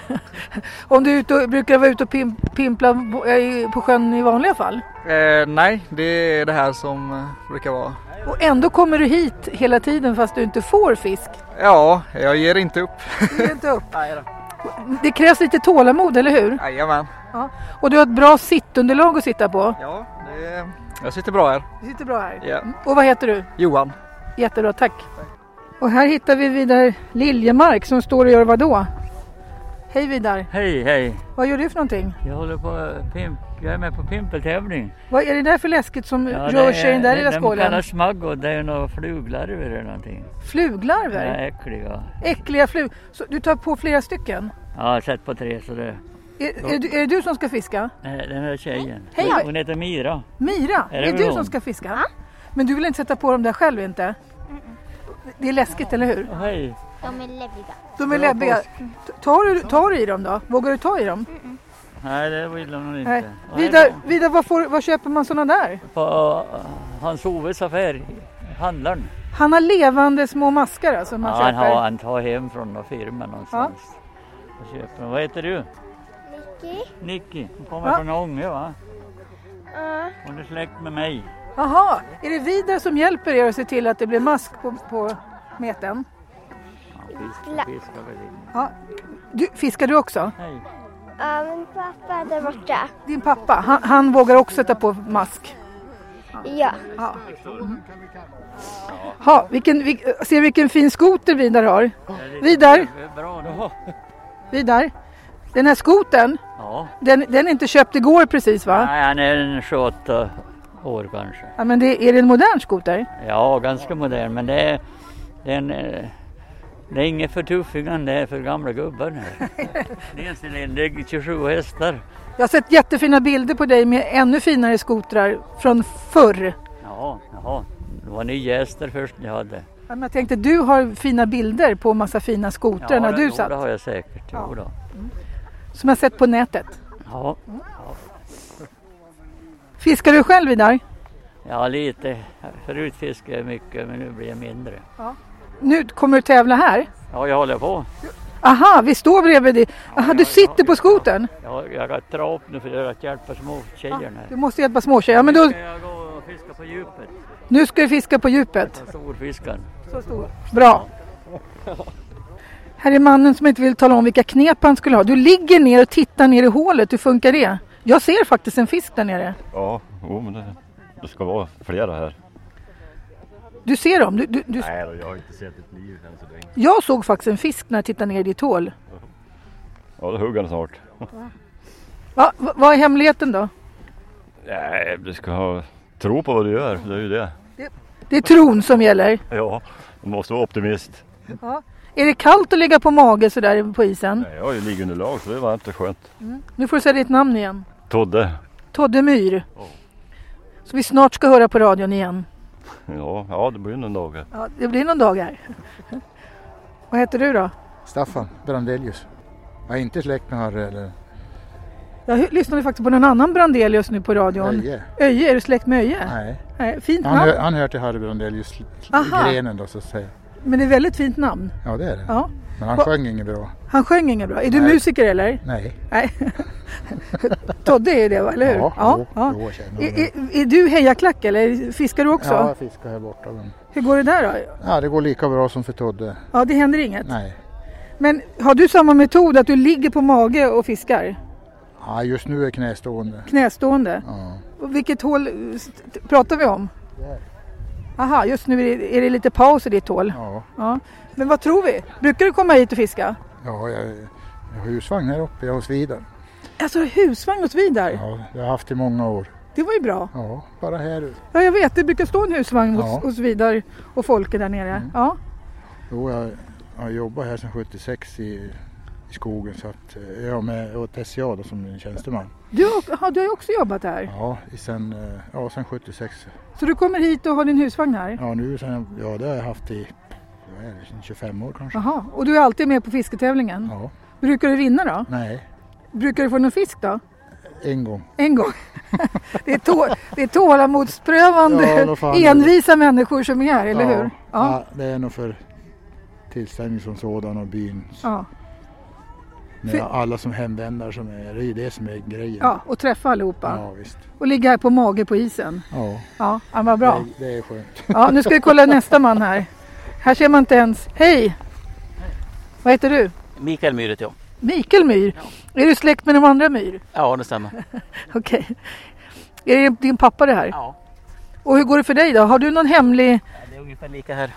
Speaker 1: Om du är ute och, brukar du vara ute och pim, pimpla bo- eh, på sjön i vanliga fall?
Speaker 24: eh, nej, det är det här som eh, brukar vara.
Speaker 1: Och ändå kommer du hit hela tiden fast du inte får fisk.
Speaker 24: Ja, jag ger inte upp.
Speaker 1: Ge inte upp. Det krävs lite tålamod, eller hur?
Speaker 24: Jajamän,
Speaker 1: Ja. Och du har ett bra sittunderlag att sitta på.
Speaker 24: Ja. det, jag sitter bra här.
Speaker 1: Du sitter bra här.
Speaker 24: Ja.
Speaker 1: Och vad heter du?
Speaker 24: Johan,
Speaker 1: Jättebra, tack. Och här hittar vi Vidar Liljemark som står och gör vad då? Hej Vidar,
Speaker 25: Hej, hej!
Speaker 1: vad gör du för någonting?
Speaker 25: Jag håller på eh, pimp... Jag är med på pimpeltävling.
Speaker 1: Vad är det där för läskigt som
Speaker 25: Ja,
Speaker 1: rör
Speaker 25: det
Speaker 1: sig i den där
Speaker 25: det-
Speaker 1: lilla
Speaker 25: De
Speaker 1: skålen?
Speaker 25: kallas smagg och det är några fluglarver eller någonting.
Speaker 1: Fluglarver?
Speaker 25: Ja, äckliga.
Speaker 1: Äckliga flug... Så du tar på flera stycken?
Speaker 25: Ja, jag har sett på tre så det...
Speaker 1: Är, är, du, är det du som ska fiska?
Speaker 25: Nej, Den här tjejen.
Speaker 1: Hej.
Speaker 25: Hon- Hon heter Mira.
Speaker 1: Mira,
Speaker 25: Är
Speaker 1: är
Speaker 25: det
Speaker 1: det,
Speaker 25: väl
Speaker 1: du
Speaker 25: hon?
Speaker 1: som ska fiska? Men du vill inte sätta på dem där själv inte? Det är läskigt, eller hur?
Speaker 25: Hej!
Speaker 16: De är läbbiga.
Speaker 1: De är
Speaker 25: Bra
Speaker 1: läbbiga.
Speaker 25: påsk.
Speaker 1: T- Tar du, tar du i dem då? Vågar du ta i dem?
Speaker 25: Nej, det vill hon Mm. inte.
Speaker 1: Nej.
Speaker 25: Och här
Speaker 1: Vidar, Vidar vad, får, vad köper man sådana där?
Speaker 25: På eh, Hans Oves affär, handlaren.
Speaker 1: Han har levande små maskar alltså man
Speaker 25: ja,
Speaker 1: köper?
Speaker 25: han, har, han tar hem från någon firma någonstans. Och köper. Vad heter du?
Speaker 16: Okej.
Speaker 25: Nicky. Hon kommer
Speaker 1: Ja.
Speaker 25: från Ånge va?
Speaker 16: Ja.
Speaker 25: Hon är släkt med mig.
Speaker 1: Jaha, är det Vidar som hjälper er att se till att det blir mask på, på meten?
Speaker 25: Fiskar, fiskar väl in.
Speaker 1: Ja. Du, fiskar du också?
Speaker 25: Nej.
Speaker 16: Ja, men pappa där borta.
Speaker 1: Din pappa, han, han vågar också sätta på mask?
Speaker 16: Ja.
Speaker 1: ja. Mm. Ha, vilken, vil, se vilken fin skoter Vidar har. Vidar,
Speaker 25: Bra då.
Speaker 1: Vidar. Den här skoten,
Speaker 25: Ja.
Speaker 1: den, den är inte köpt igår precis va?
Speaker 25: Nej, han är en 28 år kanske.
Speaker 1: Ja, men det, är det en modern skoter?
Speaker 25: Ja, ganska modern men det är, det är en, eh, Det är inget för tuffingen, det är för gamla gubbar. nu. Dels är det en dryg 27 hästar.
Speaker 1: Jag har sett jättefina bilder på dig med ännu finare skotrar från förr.
Speaker 25: Ja, ja. det var nya hästar först jag hade.
Speaker 1: Ja, men Jag tänkte du har fina bilder på massa fina skotrar när
Speaker 25: det-
Speaker 1: du
Speaker 25: jo,
Speaker 1: satt.
Speaker 25: det har jag säkert. Jo, då.
Speaker 1: Som jag sett på nätet.
Speaker 25: Ja.
Speaker 1: Mm. Fiskar du själv Vidar?
Speaker 25: ja, lite. Förut fiskade jag mycket men nu blir jag mindre.
Speaker 1: Nu kommer du tävla här?
Speaker 25: Ja, jag håller på.
Speaker 1: Aha, vi står bredvid dig. Aha, du sitter på skotern?
Speaker 25: Jag, jag har trapp nu för att hjälpa små tjejerna.
Speaker 1: Du måste hjälpa småtjejer. Ja, men då,
Speaker 25: Nu ska jag gå och fiska på djupet.
Speaker 1: nu ska du fiska på djupet.
Speaker 25: Storfiskaren.
Speaker 1: Så stor. Bra. Här är mannen som inte vill tala om vilka knep han skulle ha. Du ligger ner och tittar ner i hålet. Hur funkar det? Jag ser faktiskt en fisk där nere.
Speaker 2: Ja, jo, men det, det ska vara flera här.
Speaker 1: Du ser dem? Du, du, du...
Speaker 2: Nej då, jag har inte sett ett liv än så länge.
Speaker 1: Jag såg faktiskt en fisk när jag tittade ner i ditt hål.
Speaker 2: Ja, det hugger han snart.
Speaker 1: Va, va, vad är hemligheten då?
Speaker 2: Nej, du ska ha tro på vad du gör. Det är ju det.
Speaker 1: Det är tron som gäller.
Speaker 2: Ja, du måste vara optimist.
Speaker 1: Ja. Är det kallt att ligga på mage sådär på isen? Mm.
Speaker 2: Nej, Jag har ju liggunderlag så det var inte skönt.
Speaker 1: Nu får du säga ditt namn igen.
Speaker 2: Todde.
Speaker 1: Todde Myhr.
Speaker 11: Oh.
Speaker 1: Så vi snart ska höra på radion igen.
Speaker 2: Ja, ja det blir ju någon dag. här.
Speaker 1: Ja, det blir någon dag här. Vad heter du då?
Speaker 11: Staffan Brandelius. Jag är inte släkt med Harry eller...
Speaker 1: Äh. Jag hy- lyssnade faktiskt på någon annan Brandelius nu på radion.
Speaker 11: Öje.
Speaker 1: Öje, är du släkt med Öje?
Speaker 11: Nej.
Speaker 1: Nej fint
Speaker 11: Han,
Speaker 1: namn.
Speaker 11: hör, han hör till Harry Brandelius
Speaker 1: Aha.
Speaker 11: grenen då så att säga.
Speaker 1: Men det är väldigt fint namn.
Speaker 11: Ja det är det.
Speaker 1: Ja.
Speaker 11: Men han
Speaker 1: Va-
Speaker 11: sjöng inget bra.
Speaker 1: Han sjöng inget bra. Är du
Speaker 11: Nej.
Speaker 1: musiker eller?
Speaker 11: Nej.
Speaker 1: Nej. Todde är det va, eller hur?
Speaker 11: Ja, jo,
Speaker 1: ja.
Speaker 11: jo, jag känner
Speaker 1: Är,
Speaker 11: honom.
Speaker 1: är, är du hejaklack eller fiskar du också?
Speaker 11: Ja, jag fiskar här borta. Men...
Speaker 1: Hur går det där då?
Speaker 11: Ja, det går lika bra som för Todde.
Speaker 1: Ja, det händer inget.
Speaker 11: Nej.
Speaker 1: Men har du samma metod att du ligger på mage och fiskar?
Speaker 11: Ja, just nu är knästående.
Speaker 1: Knästående?
Speaker 11: Ja.
Speaker 1: Och Vilket hål eh, st- pratar vi om? Aha, just nu är det, är det lite paus i ditt hål.
Speaker 11: Ja.
Speaker 1: Men vad tror vi? Brukar du komma hit och fiska?
Speaker 11: Ja, jag, jag har husvagn här uppe, jag har svidan.
Speaker 1: Alltså husvagn hos Vidar?
Speaker 11: Ja, jag har haft i många år.
Speaker 1: Det var ju bra.
Speaker 11: Ja, bara här ute.
Speaker 1: Ja, jag vet. Det brukar stå en husvagn hos,
Speaker 11: Ja. Mm.
Speaker 1: hos Vidar och Folke där nere. Ja.
Speaker 11: Jo, jag har jobbat här sedan 76 i, i skogen så att eh, jag är med åt SCA då som en tjänsteman.
Speaker 1: Du, har- ja, du har ju också jobbat här.
Speaker 11: Ja, i sen, eh, ja, sen 76.
Speaker 1: Så du kommer hit och har din husvagn här?
Speaker 11: Ja, nu sen, ja, det har jag haft i vad är det, sen 25 år kanske.
Speaker 1: Jaha, och du är alltid med på fisketävlingen?
Speaker 11: Ja.
Speaker 1: Brukar du vinna då?
Speaker 11: Nej,
Speaker 1: Brukar du få någon fisk då?
Speaker 11: en gång.
Speaker 1: En gång. det, är tå, det är tålamodsprövande,
Speaker 11: Ja, vad fan.
Speaker 1: envisa människor som är här, eller
Speaker 11: ja.
Speaker 1: hur? Ja.
Speaker 11: Ja, det är nog för tillställning som sådan och byn.
Speaker 1: Ja.
Speaker 11: Med
Speaker 1: För-
Speaker 11: alla som hemvändare som är, det är ju det som är grejen.
Speaker 1: ja, och träffa allihopa.
Speaker 11: Ja, visst.
Speaker 1: Och ligga här på mage på isen.
Speaker 11: Ja,
Speaker 1: Ja, ja vad bra.
Speaker 11: Det, det är skönt.
Speaker 1: Ja, nu ska vi kolla nästa man här. Här ser man inte ens. Hej! Vad heter du?
Speaker 26: Mikael Myret, ja.
Speaker 1: Mikael Myhr. Är du släkt med de andra Myhr?
Speaker 26: Ja, det stämmer.
Speaker 1: Okej. Är det din pappa det här? Ja. Och hur går det för dig då? Har du någon hemlig...
Speaker 26: Det är ungefär lika här.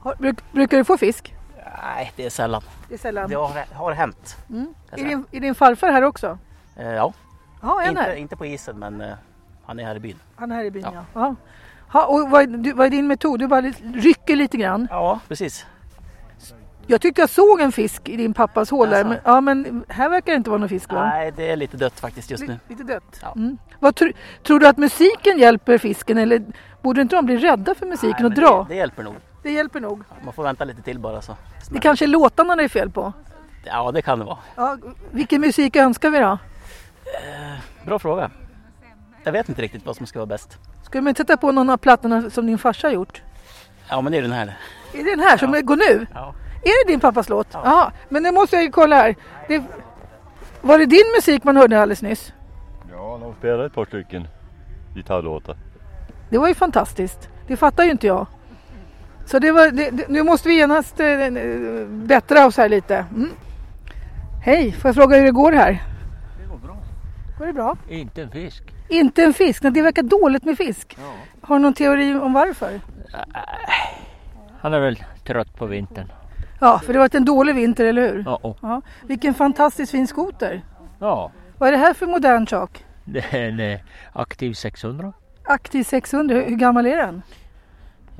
Speaker 1: Har, bruk, brukar du få fisk?
Speaker 26: Nej, det är sällan.
Speaker 1: Det är sällan.
Speaker 26: Det har, har hänt.
Speaker 1: Mm.
Speaker 26: kan jag
Speaker 1: Är,
Speaker 26: säga.
Speaker 1: din, är din farfar här också?
Speaker 26: Eh, ja.
Speaker 1: Ja, är han här?
Speaker 26: inte, inte på isen, men eh, han är här i byn.
Speaker 1: Han är här i byn, ja. ja. Ha, och vad, är, du, vad är din metod? Du bara rycker lite grann?
Speaker 26: Ja, precis.
Speaker 1: Jag tyckte jag såg en fisk i din pappas hål där, men, ja, men här verkar det inte vara någon fisk va?
Speaker 26: Nej, det är lite dött faktiskt just nu.
Speaker 1: Lite dött. Mm. Vad tr- tror du att musiken hjälper fisken eller borde inte de bli rädda för musiken
Speaker 26: Nej,
Speaker 1: och
Speaker 26: men
Speaker 1: dra?
Speaker 26: Det, det hjälper nog.
Speaker 1: Det hjälper nog.
Speaker 26: Man får vänta lite till bara så.
Speaker 1: Det kanske är låtarna det är fel på?
Speaker 26: Ja, det kan det vara.
Speaker 1: Ja, vilken musik önskar vi då?
Speaker 26: Eh, Bra fråga. Jag vet inte riktigt vad som ska vara bäst.
Speaker 1: Skulle man inte sätta på någon av plattorna som din farsa har gjort?
Speaker 26: Ja, men det är den här.
Speaker 1: Är det den här som går nu? Är det din pappas låt? Ja. men nu måste jag ju kolla här. Det... Var det din musik man hörde alldeles nyss?
Speaker 2: Ja, de spelar ett par stycken gitarrlåtar.
Speaker 1: Det var ju fantastiskt. Det fattar ju inte jag. Så det var, det, det, nu måste vi genast eh, eh, bättra oss här lite. Mm. Hej, får jag fråga hur det går här?
Speaker 27: Det går bra.
Speaker 1: Går det bra?
Speaker 27: Inte en fisk.
Speaker 1: Inte en fisk, Nej, det verkar dåligt med fisk. Har du någon teori om varför?
Speaker 27: Han är väl trött på vintern.
Speaker 1: Ja, för det har varit en dålig vinter, eller hur?
Speaker 27: Ja, och-
Speaker 1: Ja. Vilken fantastiskt fin skoter.
Speaker 27: ja.
Speaker 1: Vad är det här för modern sak?
Speaker 27: det är en eh, aktiv 600.
Speaker 1: Aktiv 600, hur hur gammal är den?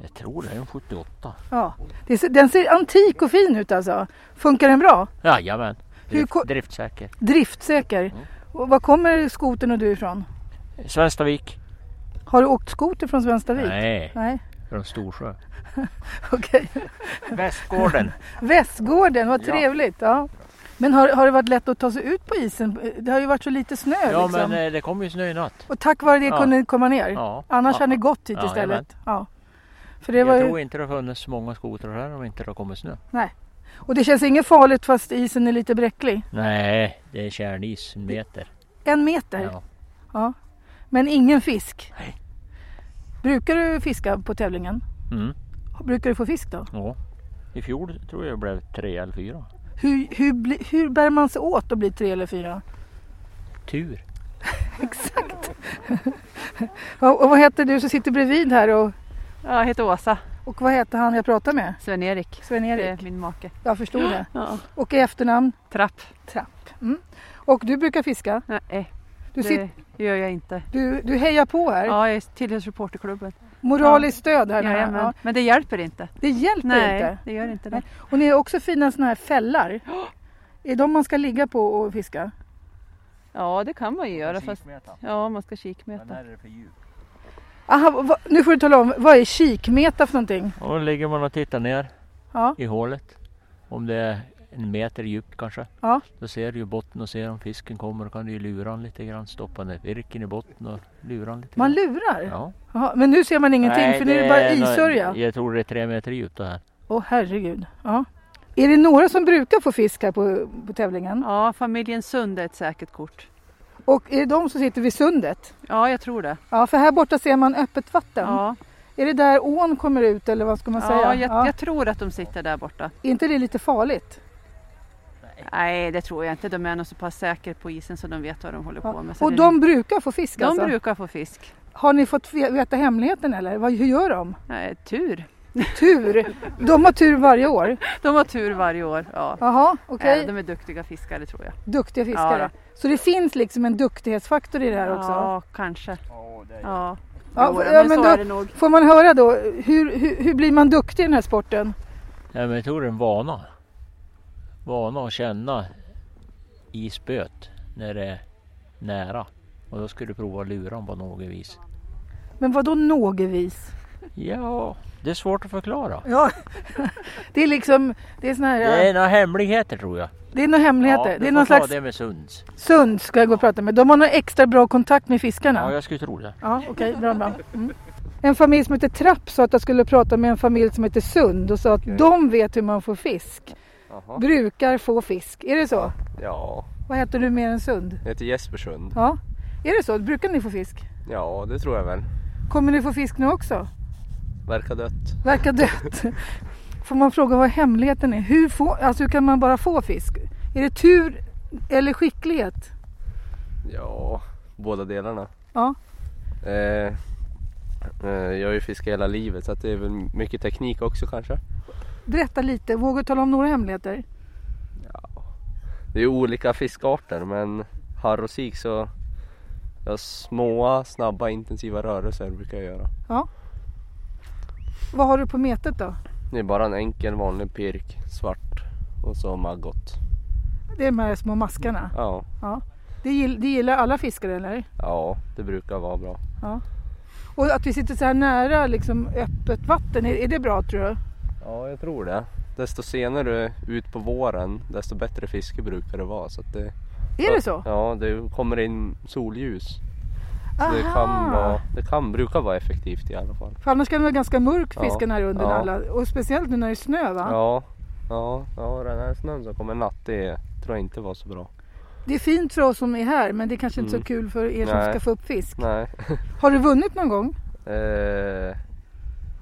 Speaker 27: Jag tror det är en 78.
Speaker 1: Ja. Det ser, den ser antik och fin ut alltså. Funkar den bra?
Speaker 27: Jajamän,
Speaker 1: Hur
Speaker 27: drift,
Speaker 1: ko-
Speaker 27: driftsäker.
Speaker 1: Driftsäker. Och var kommer skotern och du ifrån?
Speaker 27: Svenstavik?
Speaker 1: Har du åkt skoter från Svenstavik?
Speaker 27: Nej,
Speaker 1: Nej.
Speaker 27: från Storsjö.
Speaker 1: Okej.
Speaker 27: Västgården.
Speaker 1: Västgården, vad
Speaker 27: Ja.
Speaker 1: trevligt. Ja. Men har, har det varit lätt att ta sig ut på isen? Det har ju varit så lite snö.
Speaker 27: Ja
Speaker 1: liksom.
Speaker 27: men eh, det kom ju snö i natt.
Speaker 1: Och tack vare det
Speaker 27: Ja.
Speaker 1: kunde ni komma ner?
Speaker 27: Ja.
Speaker 1: Annars
Speaker 27: Ja.
Speaker 1: hade ni gått hit
Speaker 27: Ja,
Speaker 1: istället? Ja. För det
Speaker 27: Jag
Speaker 1: var
Speaker 27: tror
Speaker 1: ju...
Speaker 27: inte det har funnits så många skotrar här om inte det har kommit snö.
Speaker 1: Nej. Och det känns inget farligt fast isen är lite bräcklig?
Speaker 27: Nej, det är kärnis, en meter.
Speaker 1: En meter?
Speaker 27: Ja.
Speaker 1: Ja. Men ingen fisk? Nej. Brukar du fiska på tävlingen?
Speaker 27: Mm.
Speaker 1: Brukar du få fisk då?
Speaker 27: Ja. I fjol tror jag det blev tre eller fyra.
Speaker 1: Hur, hur, bli- hur bär man sig åt att bli tre eller fyra?
Speaker 27: Tur.
Speaker 1: Exakt! Ja, och vad heter du som sitter bredvid här? Och...
Speaker 10: Jag heter Åsa.
Speaker 1: Och vad heter han jag pratar med?
Speaker 10: Sven-Erik.
Speaker 1: Sven-Erik.
Speaker 10: Det är min make.
Speaker 1: Jag förstod det.
Speaker 10: Ja.
Speaker 1: Och i efternamn?
Speaker 10: Trapp.
Speaker 1: Trapp. Mm. Och du brukar fiska?
Speaker 10: Nej,
Speaker 1: Du
Speaker 10: det
Speaker 1: sit-
Speaker 10: gör jag inte.
Speaker 1: Du, du hejar på här?
Speaker 10: Ja, jag tillhör supporterklubben.
Speaker 1: Moraliskt stöd här nere,
Speaker 10: Jajamän.
Speaker 1: ja.
Speaker 10: Men det hjälper inte.
Speaker 1: Det hjälper
Speaker 10: Nej,
Speaker 1: inte.
Speaker 10: det gör inte det.
Speaker 1: Nej. Och ni har också fina sådana här fällar. Är de man ska ligga på och fiska?
Speaker 10: Ja, det kan man ju göra. Fast... Ja, man ska kikmäta. Men
Speaker 27: är det för djupt?
Speaker 1: Aha, vad- nu får du tala om, vad är kikmeta för någonting?
Speaker 27: Och då ligger man och tittar ner
Speaker 1: Ja.
Speaker 27: i hålet. Om det är en meter djupt kanske.
Speaker 1: Ja.
Speaker 27: Då ser du ju botten och ser om fisken kommer. Då kan du ju lura den lite grann. Stoppa ner virken i botten och lura den lite
Speaker 1: Man
Speaker 27: grann.
Speaker 1: lurar?
Speaker 27: Ja.
Speaker 1: Jaha, men nu ser man ingenting för nu är det bara
Speaker 27: nå-
Speaker 1: isörja.
Speaker 27: Jag tror det är tre meter djupt det här.
Speaker 1: Åh herregud. Ja. Är det några som brukar få fisk här på, på tävlingen?
Speaker 10: Ja, familjen Sund är ett säkert kort.
Speaker 1: Och är det de som sitter vid sundet?
Speaker 10: Ja, jag tror det.
Speaker 1: Ja, för här borta ser man öppet vatten.
Speaker 10: Ja.
Speaker 1: Är det där ån kommer ut eller vad ska man säga?
Speaker 10: Ja, jag, jag tror att de sitter där borta.
Speaker 1: Är inte det lite farligt?
Speaker 10: Nej, det tror jag inte. De är nog så pass säkra på isen så de vet vad de håller på med. Så
Speaker 1: Och
Speaker 10: det-
Speaker 1: de brukar få fisk
Speaker 10: de
Speaker 1: alltså?
Speaker 10: brukar få fisk.
Speaker 1: Har ni fått ve- veta hemligheten eller? Vad, hur gör de?
Speaker 10: Nej, tur.
Speaker 1: Tur? De har tur varje år?
Speaker 10: De har tur varje år. Ja.
Speaker 1: Jaha, okej.
Speaker 10: Eh, De är duktiga fiskare tror jag.
Speaker 1: Duktiga fiskare.
Speaker 10: Ja,
Speaker 1: Så det finns liksom en duktighetsfaktor i det här också?
Speaker 10: Ja, kanske. Ja,
Speaker 1: Ja,
Speaker 10: Jo,
Speaker 1: f-
Speaker 10: men
Speaker 1: ja,
Speaker 10: så
Speaker 1: men
Speaker 10: är det
Speaker 1: då
Speaker 10: nog.
Speaker 1: får man höra då, hur, hur, hur blir man duktig i den här sporten?
Speaker 27: Nej, men jag tror det är en vana. Vana att känna i spöet när det är nära. Och då ska du prova luran på något vis.
Speaker 1: Men vadå någevis?
Speaker 27: Ja, det är svårt att förklara.
Speaker 1: Ja, det är liksom, det är sån här,
Speaker 27: Det är några hemligheter tror jag.
Speaker 1: det är några hemligheter.
Speaker 27: Ja, du
Speaker 1: det är
Speaker 27: får
Speaker 1: någon
Speaker 27: ta
Speaker 1: slags
Speaker 27: det med Sunds.
Speaker 1: sund ska jag gå och prata med. De har någon extra bra kontakt med fiskarna.
Speaker 27: Ja, jag skulle tro det.
Speaker 1: Ja, okej, bra, bra. Mm. En familj som heter Trapp sa att jag skulle prata med en familj som heter Sund och sa att de vet hur man får fisk. Brukar få fisk, är det så?
Speaker 28: Ja,
Speaker 1: Vad heter du mer än Sund?
Speaker 28: jag heter Jesper Sund.
Speaker 1: Ja, är det så? Brukar ni få fisk?
Speaker 28: Ja, det tror jag väl.
Speaker 1: Kommer ni få fisk nu också?
Speaker 28: Verkar dött.
Speaker 1: Verkar dött. Får man fråga vad hemligheten är? Hur, få, alltså, hur kan man bara få fisk? Är det tur eller skicklighet?
Speaker 28: Ja, båda delarna.
Speaker 1: Ja.
Speaker 28: Eh, eh, jag har ju fiskat hela livet så att det är väl mycket teknik också kanske.
Speaker 1: Berätta lite, vågar du tala om några hemligheter?
Speaker 28: Det är ju olika fiskarter men harr och sik så jag har små, snabba, intensiva rörelser brukar jag göra.
Speaker 1: Ja. Vad har du på metet då?
Speaker 28: Det är bara en enkel vanlig pirk, svart och så maggot.
Speaker 1: Det är de här små maskarna.
Speaker 28: Ja,
Speaker 1: Ja. Det, gill, det gillar alla fiskare eller?
Speaker 28: ja, det brukar vara bra.
Speaker 1: Ja. Och att vi sitter så här nära liksom, öppet vatten, är, är det bra tror du?
Speaker 28: Ja, jag tror det. Desto senare ut på våren, desto bättre fiske brukar det vara. Så att det,
Speaker 1: Är det så?
Speaker 28: Ja, det kommer in solljus. Så det
Speaker 1: Aha.
Speaker 28: kan, vara, det kan brukar vara effektivt i alla fall.
Speaker 1: För annars kan det vara ganska mörk
Speaker 28: Ja.
Speaker 1: fisken här under
Speaker 28: Ja.
Speaker 1: alla. Och speciellt nu när det är snö va?
Speaker 28: Ja, ja, ja den här snön som kommer natt, det tror jag inte var så bra.
Speaker 1: Det är fint för oss som är här men det är kanske inte så
Speaker 28: Mm.
Speaker 1: kul för er som
Speaker 28: Nej.
Speaker 1: ska få upp fisk.
Speaker 28: Nej.
Speaker 1: Har du vunnit någon gång?
Speaker 28: eh,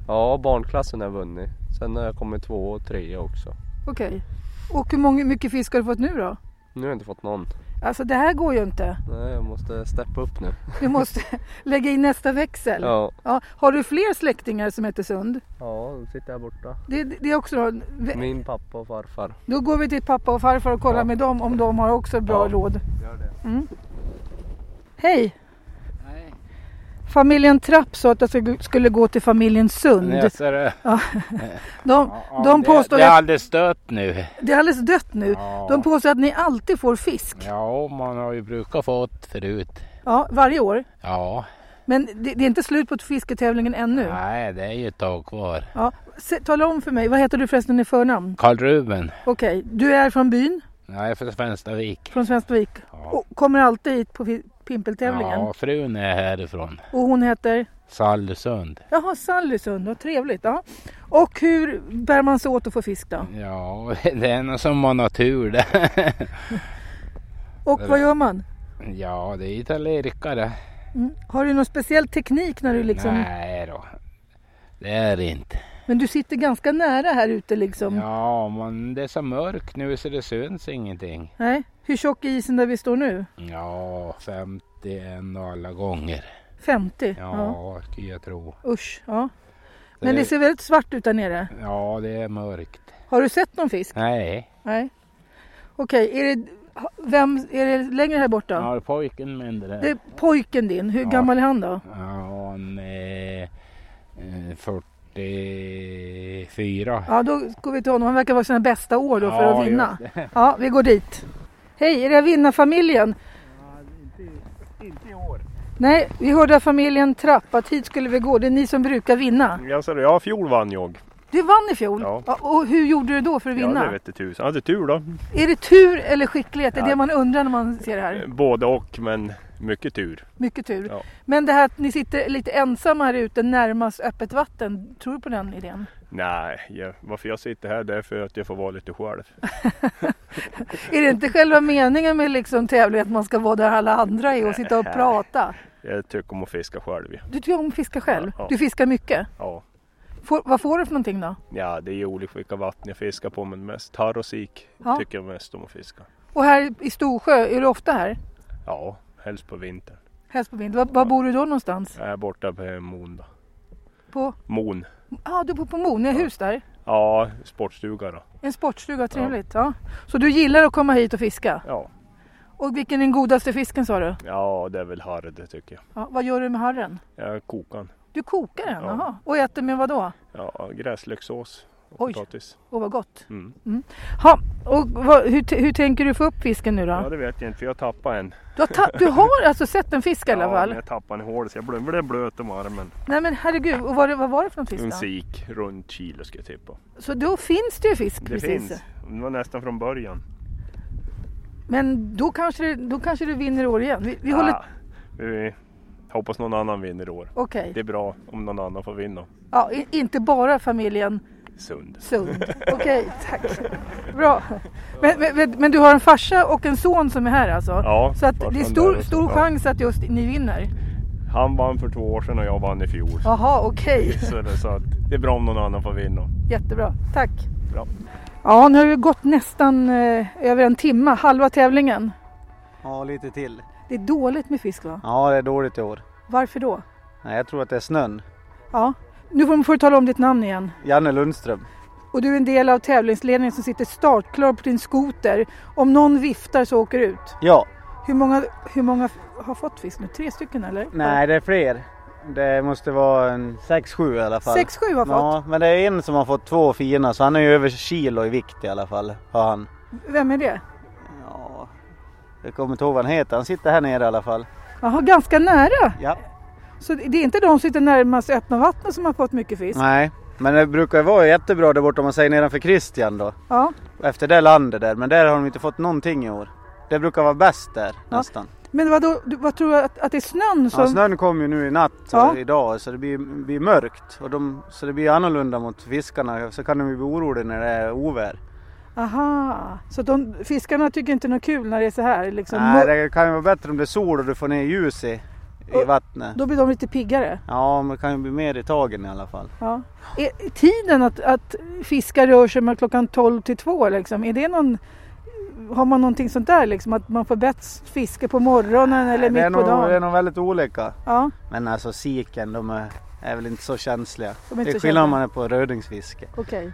Speaker 28: ja, barnklassen har jag vunnit. Sen har jag kommit två och tre också.
Speaker 1: Okej. Och hur många, mycket fisk har du fått nu då?
Speaker 28: Nu har jag inte fått någon.
Speaker 1: Alltså det här går ju inte.
Speaker 28: Nej, jag måste steppa upp nu.
Speaker 1: Du måste lägga in nästa växel.
Speaker 28: Ja.
Speaker 1: Har du fler släktingar som heter Sund?
Speaker 28: Ja, nu sitter jag borta.
Speaker 1: Det, det är också
Speaker 28: Min pappa och farfar.
Speaker 1: Då går vi till pappa och farfar och kollar med dem om de har också bra
Speaker 28: Ja,
Speaker 1: råd.
Speaker 28: gör det.
Speaker 1: Mm. Hej! Familjen Trapp sa att jag sk- skulle gå till familjen Sund.
Speaker 13: Ja, så är det.
Speaker 1: Ja. De,
Speaker 13: Ja,
Speaker 1: de påstår
Speaker 13: det, det är
Speaker 1: att
Speaker 13: alldeles dött nu.
Speaker 1: det är alldeles dött nu.
Speaker 13: Ja.
Speaker 1: De påstår att ni alltid får fisk.
Speaker 13: Ja, man har ju brukat fått förut.
Speaker 1: Ja, varje år.
Speaker 13: Ja,
Speaker 1: Men det, det är inte slut på fisketävlingen ännu.
Speaker 13: nej det är ju ett tag kvar.
Speaker 1: Ja. Se, tala om för mig, vad heter du förresten i förnamn?
Speaker 13: Karl Ruben.
Speaker 1: Okej, du är från byn,
Speaker 13: Nej, från Svenstavik.
Speaker 1: från Svenstavik och kommer alltid hit på fi- pimpeltävlingen.
Speaker 13: Ja, frun är härifrån.
Speaker 1: Och hon heter?
Speaker 13: Sallusund.
Speaker 1: Jaha, Sallysund, vad trevligt. Ja. Och hur bär man sig åt att få fisk då?
Speaker 13: Ja, det är nog som man har tur det. Mm.
Speaker 1: Och vad gör man?
Speaker 13: Ja, det är ju tallerikare.
Speaker 1: Mm. Har du någon speciell teknik när du liksom...
Speaker 13: Nej då. Det är det inte.
Speaker 1: Men du sitter ganska nära här ute liksom.
Speaker 13: Ja, men det är så mörkt nu så det syns ingenting.
Speaker 1: Nej. Hur tjock är isen där vi står nu?
Speaker 13: Ja, 51 och alla gånger.
Speaker 1: 50?
Speaker 13: Ja, skulle jag tro.
Speaker 1: Usch, ja.
Speaker 13: Det
Speaker 1: Men
Speaker 13: är-
Speaker 1: det ser väldigt svart ut där nere.
Speaker 13: Ja, det är mörkt.
Speaker 1: Har du sett någon fisk?
Speaker 13: Nej.
Speaker 1: Nej. Okej, är, det, ha- vem, är det längre här borta?
Speaker 13: Ja, pojken med det där.
Speaker 1: Det är pojken din. Hur gammal är han då?
Speaker 13: Ja, han är eh, 44.
Speaker 1: Ja, då går vi till honom. Han verkar vara sina bästa år då för
Speaker 13: Ja,
Speaker 1: att vinna.
Speaker 13: just det.
Speaker 1: Ja, vi går dit. Hej, är det vinnarfamiljen?
Speaker 18: Inte i år.
Speaker 1: Nej, vi hörde av familjen Trapp att hit skulle vi gå. Det är ni som brukar vinna.
Speaker 29: Jag sa det, ja fjol vann jag.
Speaker 1: Du vann i fjol.
Speaker 29: Ja.
Speaker 1: och hur gjorde du då för att
Speaker 29: Ja,
Speaker 1: vinna?
Speaker 29: det vette tusan. Jag hade tur då.
Speaker 1: är det tur eller skicklighet? Det är
Speaker 29: Ja.
Speaker 1: det man undrar när man ser det här.
Speaker 13: Eh,
Speaker 29: Både och, men mycket tur.
Speaker 1: Mycket tur.
Speaker 29: Ja.
Speaker 1: Men det här att ni sitter lite ensamma här ute närmast öppet vatten. Tror du på den idén?
Speaker 29: Nej, jag, varför jag sitter här det är för att jag får vara lite själv.
Speaker 1: Är det inte själva meningen med liksom tävling att man ska vara där alla andra är och sitta och
Speaker 29: Nej.
Speaker 1: prata?
Speaker 29: Jag tycker om att fiska själv. ja.
Speaker 1: Du tycker om att fiska själv?
Speaker 29: Ja.
Speaker 1: Du fiskar mycket?
Speaker 29: Ja.
Speaker 1: Får, vad får du för någonting då?
Speaker 29: ja, det är ju olika vilka vatten jag fiskar på men mest harr och sik
Speaker 1: Ja.
Speaker 29: tycker jag mest om att fiska.
Speaker 1: Och här i Storsjö, är du ofta här?
Speaker 29: Ja, helst på vintern.
Speaker 1: Helst på vintern. Var, var bor du då någonstans?
Speaker 29: Jag är borta på Mon då.
Speaker 1: På,
Speaker 29: Mon?
Speaker 1: ah, du bor på Mon, ni har hus där?
Speaker 29: Ja, sportstuga då.
Speaker 1: En sportstuga, trevligt. Ja. Så du gillar att komma hit och fiska?
Speaker 29: Ja.
Speaker 1: Och vilken är den godaste fisken sa du?
Speaker 29: Ja, det är väl harr det tycker jag.
Speaker 1: Ja, vad gör du med harren?
Speaker 29: Jag kokar den.
Speaker 1: Du kokar den,
Speaker 29: Ja.
Speaker 1: jaha. Och äter med vad då?
Speaker 29: Ja, gräslökssås och
Speaker 1: Oj.
Speaker 29: potatis.
Speaker 1: Åh vad gott.
Speaker 29: Mm.
Speaker 1: Mm. Ha, och vad, hur, t- hur tänker du få upp fisken nu då?
Speaker 29: Ja, det vet jag inte för jag tappade en.
Speaker 1: Du har, ta- du har alltså sett en fisk i alla
Speaker 29: Ja,
Speaker 1: fall?
Speaker 29: men jag tappade en i hålet så jag blev, blev blöt om armen.
Speaker 1: Nej men herregud, och vad, det- vad var det för någon fisk
Speaker 29: En
Speaker 1: då?
Speaker 29: sik runt kilo ska jag tippa.
Speaker 1: Så då finns det ju fisk
Speaker 29: Det
Speaker 1: precis.
Speaker 29: finns. Det var nästan från början.
Speaker 1: Men då kanske, det, då kanske du vinner i år igen. Vi, vi
Speaker 29: Ah,
Speaker 1: håller...
Speaker 29: vi hoppas någon annan vinner i år.
Speaker 1: Okej.
Speaker 29: Det är bra om någon annan får vinna.
Speaker 1: ja, i- inte bara familjen
Speaker 29: Sund.
Speaker 1: Sund. Okej, tack. Bra. Men, men- men, men du har en farsa och en son som är här alltså?
Speaker 29: Ja,
Speaker 1: Så att
Speaker 29: farsan
Speaker 1: det är
Speaker 29: där
Speaker 1: stor,
Speaker 29: och så-
Speaker 1: stor
Speaker 29: ja.
Speaker 1: chans att just ni vinner?
Speaker 29: Han vann för två år sedan och jag vann i fjol.
Speaker 1: Jaha, okej.
Speaker 29: Så, det, så att det är bra om någon annan får vinna.
Speaker 1: Jättebra, tack.
Speaker 29: Bra.
Speaker 1: Ja, nu har det gått nästan eh, över en timme, halva tävlingen.
Speaker 19: Ja, lite till.
Speaker 1: Det är dåligt med fisk va?
Speaker 19: Ja, det är dåligt i år.
Speaker 1: Varför då?
Speaker 19: Nej, jag tror att det är snön.
Speaker 1: Ja, nu får, får du tala om ditt namn igen.
Speaker 19: Janne Lundström.
Speaker 1: Och du är en del av tävlingsledningen som sitter startklar på din skoter. Om någon viftar så åker du ut.
Speaker 19: Ja.
Speaker 1: Hur många, hur många f- har fått fisk nu? Tre stycken eller?
Speaker 19: Nej, det är fler. Det måste vara en 6-7 i alla fall.
Speaker 1: Sex, sju har fått.
Speaker 19: Ja, men det är en som har fått två fina så han är ju över kilo i vikt i alla fall. Har han.
Speaker 1: Vem är det?
Speaker 19: Jag kommer inte ihåg vad han heter. Han sitter här nere i alla fall.
Speaker 1: Jaha, ganska nära.
Speaker 19: Ja.
Speaker 1: Så det är inte de som sitter närmast öppna vattnet som har fått mycket fisk?
Speaker 19: Nej, men det brukar ju vara jättebra där borta om man säger nedanför Christian då.
Speaker 1: Ja.
Speaker 19: Efter det landet där, men där har de inte fått någonting i år. Det brukar vara bäst där nästan.
Speaker 1: Men vadå, du- vad tror du att, att det är snön som...
Speaker 19: Ja, snön kom ju nu i natt och
Speaker 1: Ja.
Speaker 19: idag så det blir, blir mörkt. Och de, så det blir annorlunda mot fiskarna. Så kan de ju bli oroliga när det är oväder.
Speaker 1: Aha, så de, fiskarna tycker inte det är kul när det är så här? Liksom.
Speaker 19: Nej,
Speaker 1: Mör-
Speaker 19: det kan ju vara bättre om det är sol och du får ner ljus i, i vattnet.
Speaker 1: Då blir de lite piggare?
Speaker 19: Ja, men det kan ju bli mer i tagen i alla fall.
Speaker 1: Ja. Är, är tiden att, att fiskar rör sig mellan klockan 12 till 2 liksom, är det någon... Har man någonting sånt där liksom, att man får bättre fiske på morgonen eller
Speaker 19: det, är
Speaker 1: mitt på
Speaker 19: nog, det är
Speaker 1: dagen?
Speaker 19: nog väldigt olika.
Speaker 1: Ja.
Speaker 19: Men alltså siken, de är, är väl inte så känsliga.
Speaker 1: De är inte
Speaker 19: det är
Speaker 1: så
Speaker 19: skillnad
Speaker 1: känsliga.
Speaker 19: om man är på rödingsfiske.
Speaker 1: Okej.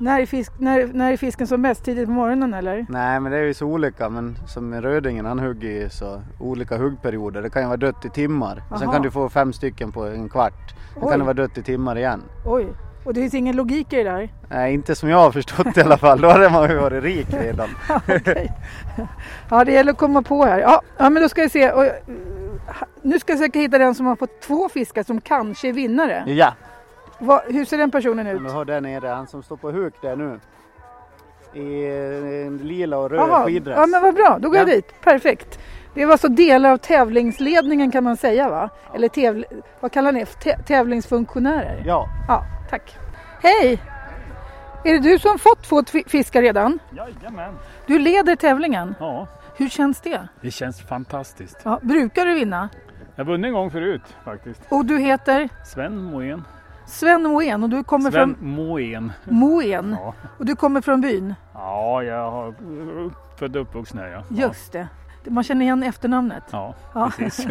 Speaker 1: När är, fisk, när, när är fisken som bäst? Tidigt på morgonen eller?
Speaker 19: Nej men det är ju så olika men som rödingen han hugger ju så olika huggperioder. Det kan ju vara dött i timmar. Och sen
Speaker 1: Aha.
Speaker 19: kan du få fem stycken på en kvart. Sen
Speaker 1: Oj.
Speaker 19: kan det vara dött i timmar igen.
Speaker 1: Oj, och det finns ingen logik i det där?
Speaker 19: Nej inte som jag har förstått i alla fall. Då hade man ju varit rik redan.
Speaker 1: Ja, det gäller att komma på här. Ja, ja men då ska vi se. Och, eh, nu ska jag försöka hitta den som har fått två fiskar som kanske är vinnare.
Speaker 19: ja.
Speaker 1: Vad- hur ser den personen ut?
Speaker 19: Men du har där nere han som står på huk där nu. I en lila och röd
Speaker 1: Jaha,
Speaker 19: skiddress.
Speaker 1: ja men vad bra, då går jag
Speaker 19: Ja.
Speaker 1: dit. Perfekt. Det var alltså delar av tävlingsledningen kan man säga va? Eller tävl... vad kallar ni det? Tä- Tävlingsfunktionärer?
Speaker 19: Ja.
Speaker 1: Ja, tack. Hej! Är det du som fått två tvi- fiskar redan?
Speaker 30: Jajamän.
Speaker 1: Du leder tävlingen?
Speaker 30: Ja.
Speaker 1: Hur känns det?
Speaker 30: Det känns fantastiskt.
Speaker 1: Ja, brukar du vinna?
Speaker 30: Jag vunnit en gång förut faktiskt.
Speaker 1: Och du heter?
Speaker 30: Sven Moen.
Speaker 1: Sven Moen och du kommer
Speaker 30: Sven
Speaker 1: från
Speaker 30: Moen.
Speaker 1: Moen.
Speaker 30: Ja.
Speaker 1: Och du kommer från byn?
Speaker 30: ja, jag har född och uppvuxen här ja.
Speaker 1: Just det. Man känner igen efternamnet?
Speaker 30: Ja,
Speaker 1: Ja.
Speaker 30: precis.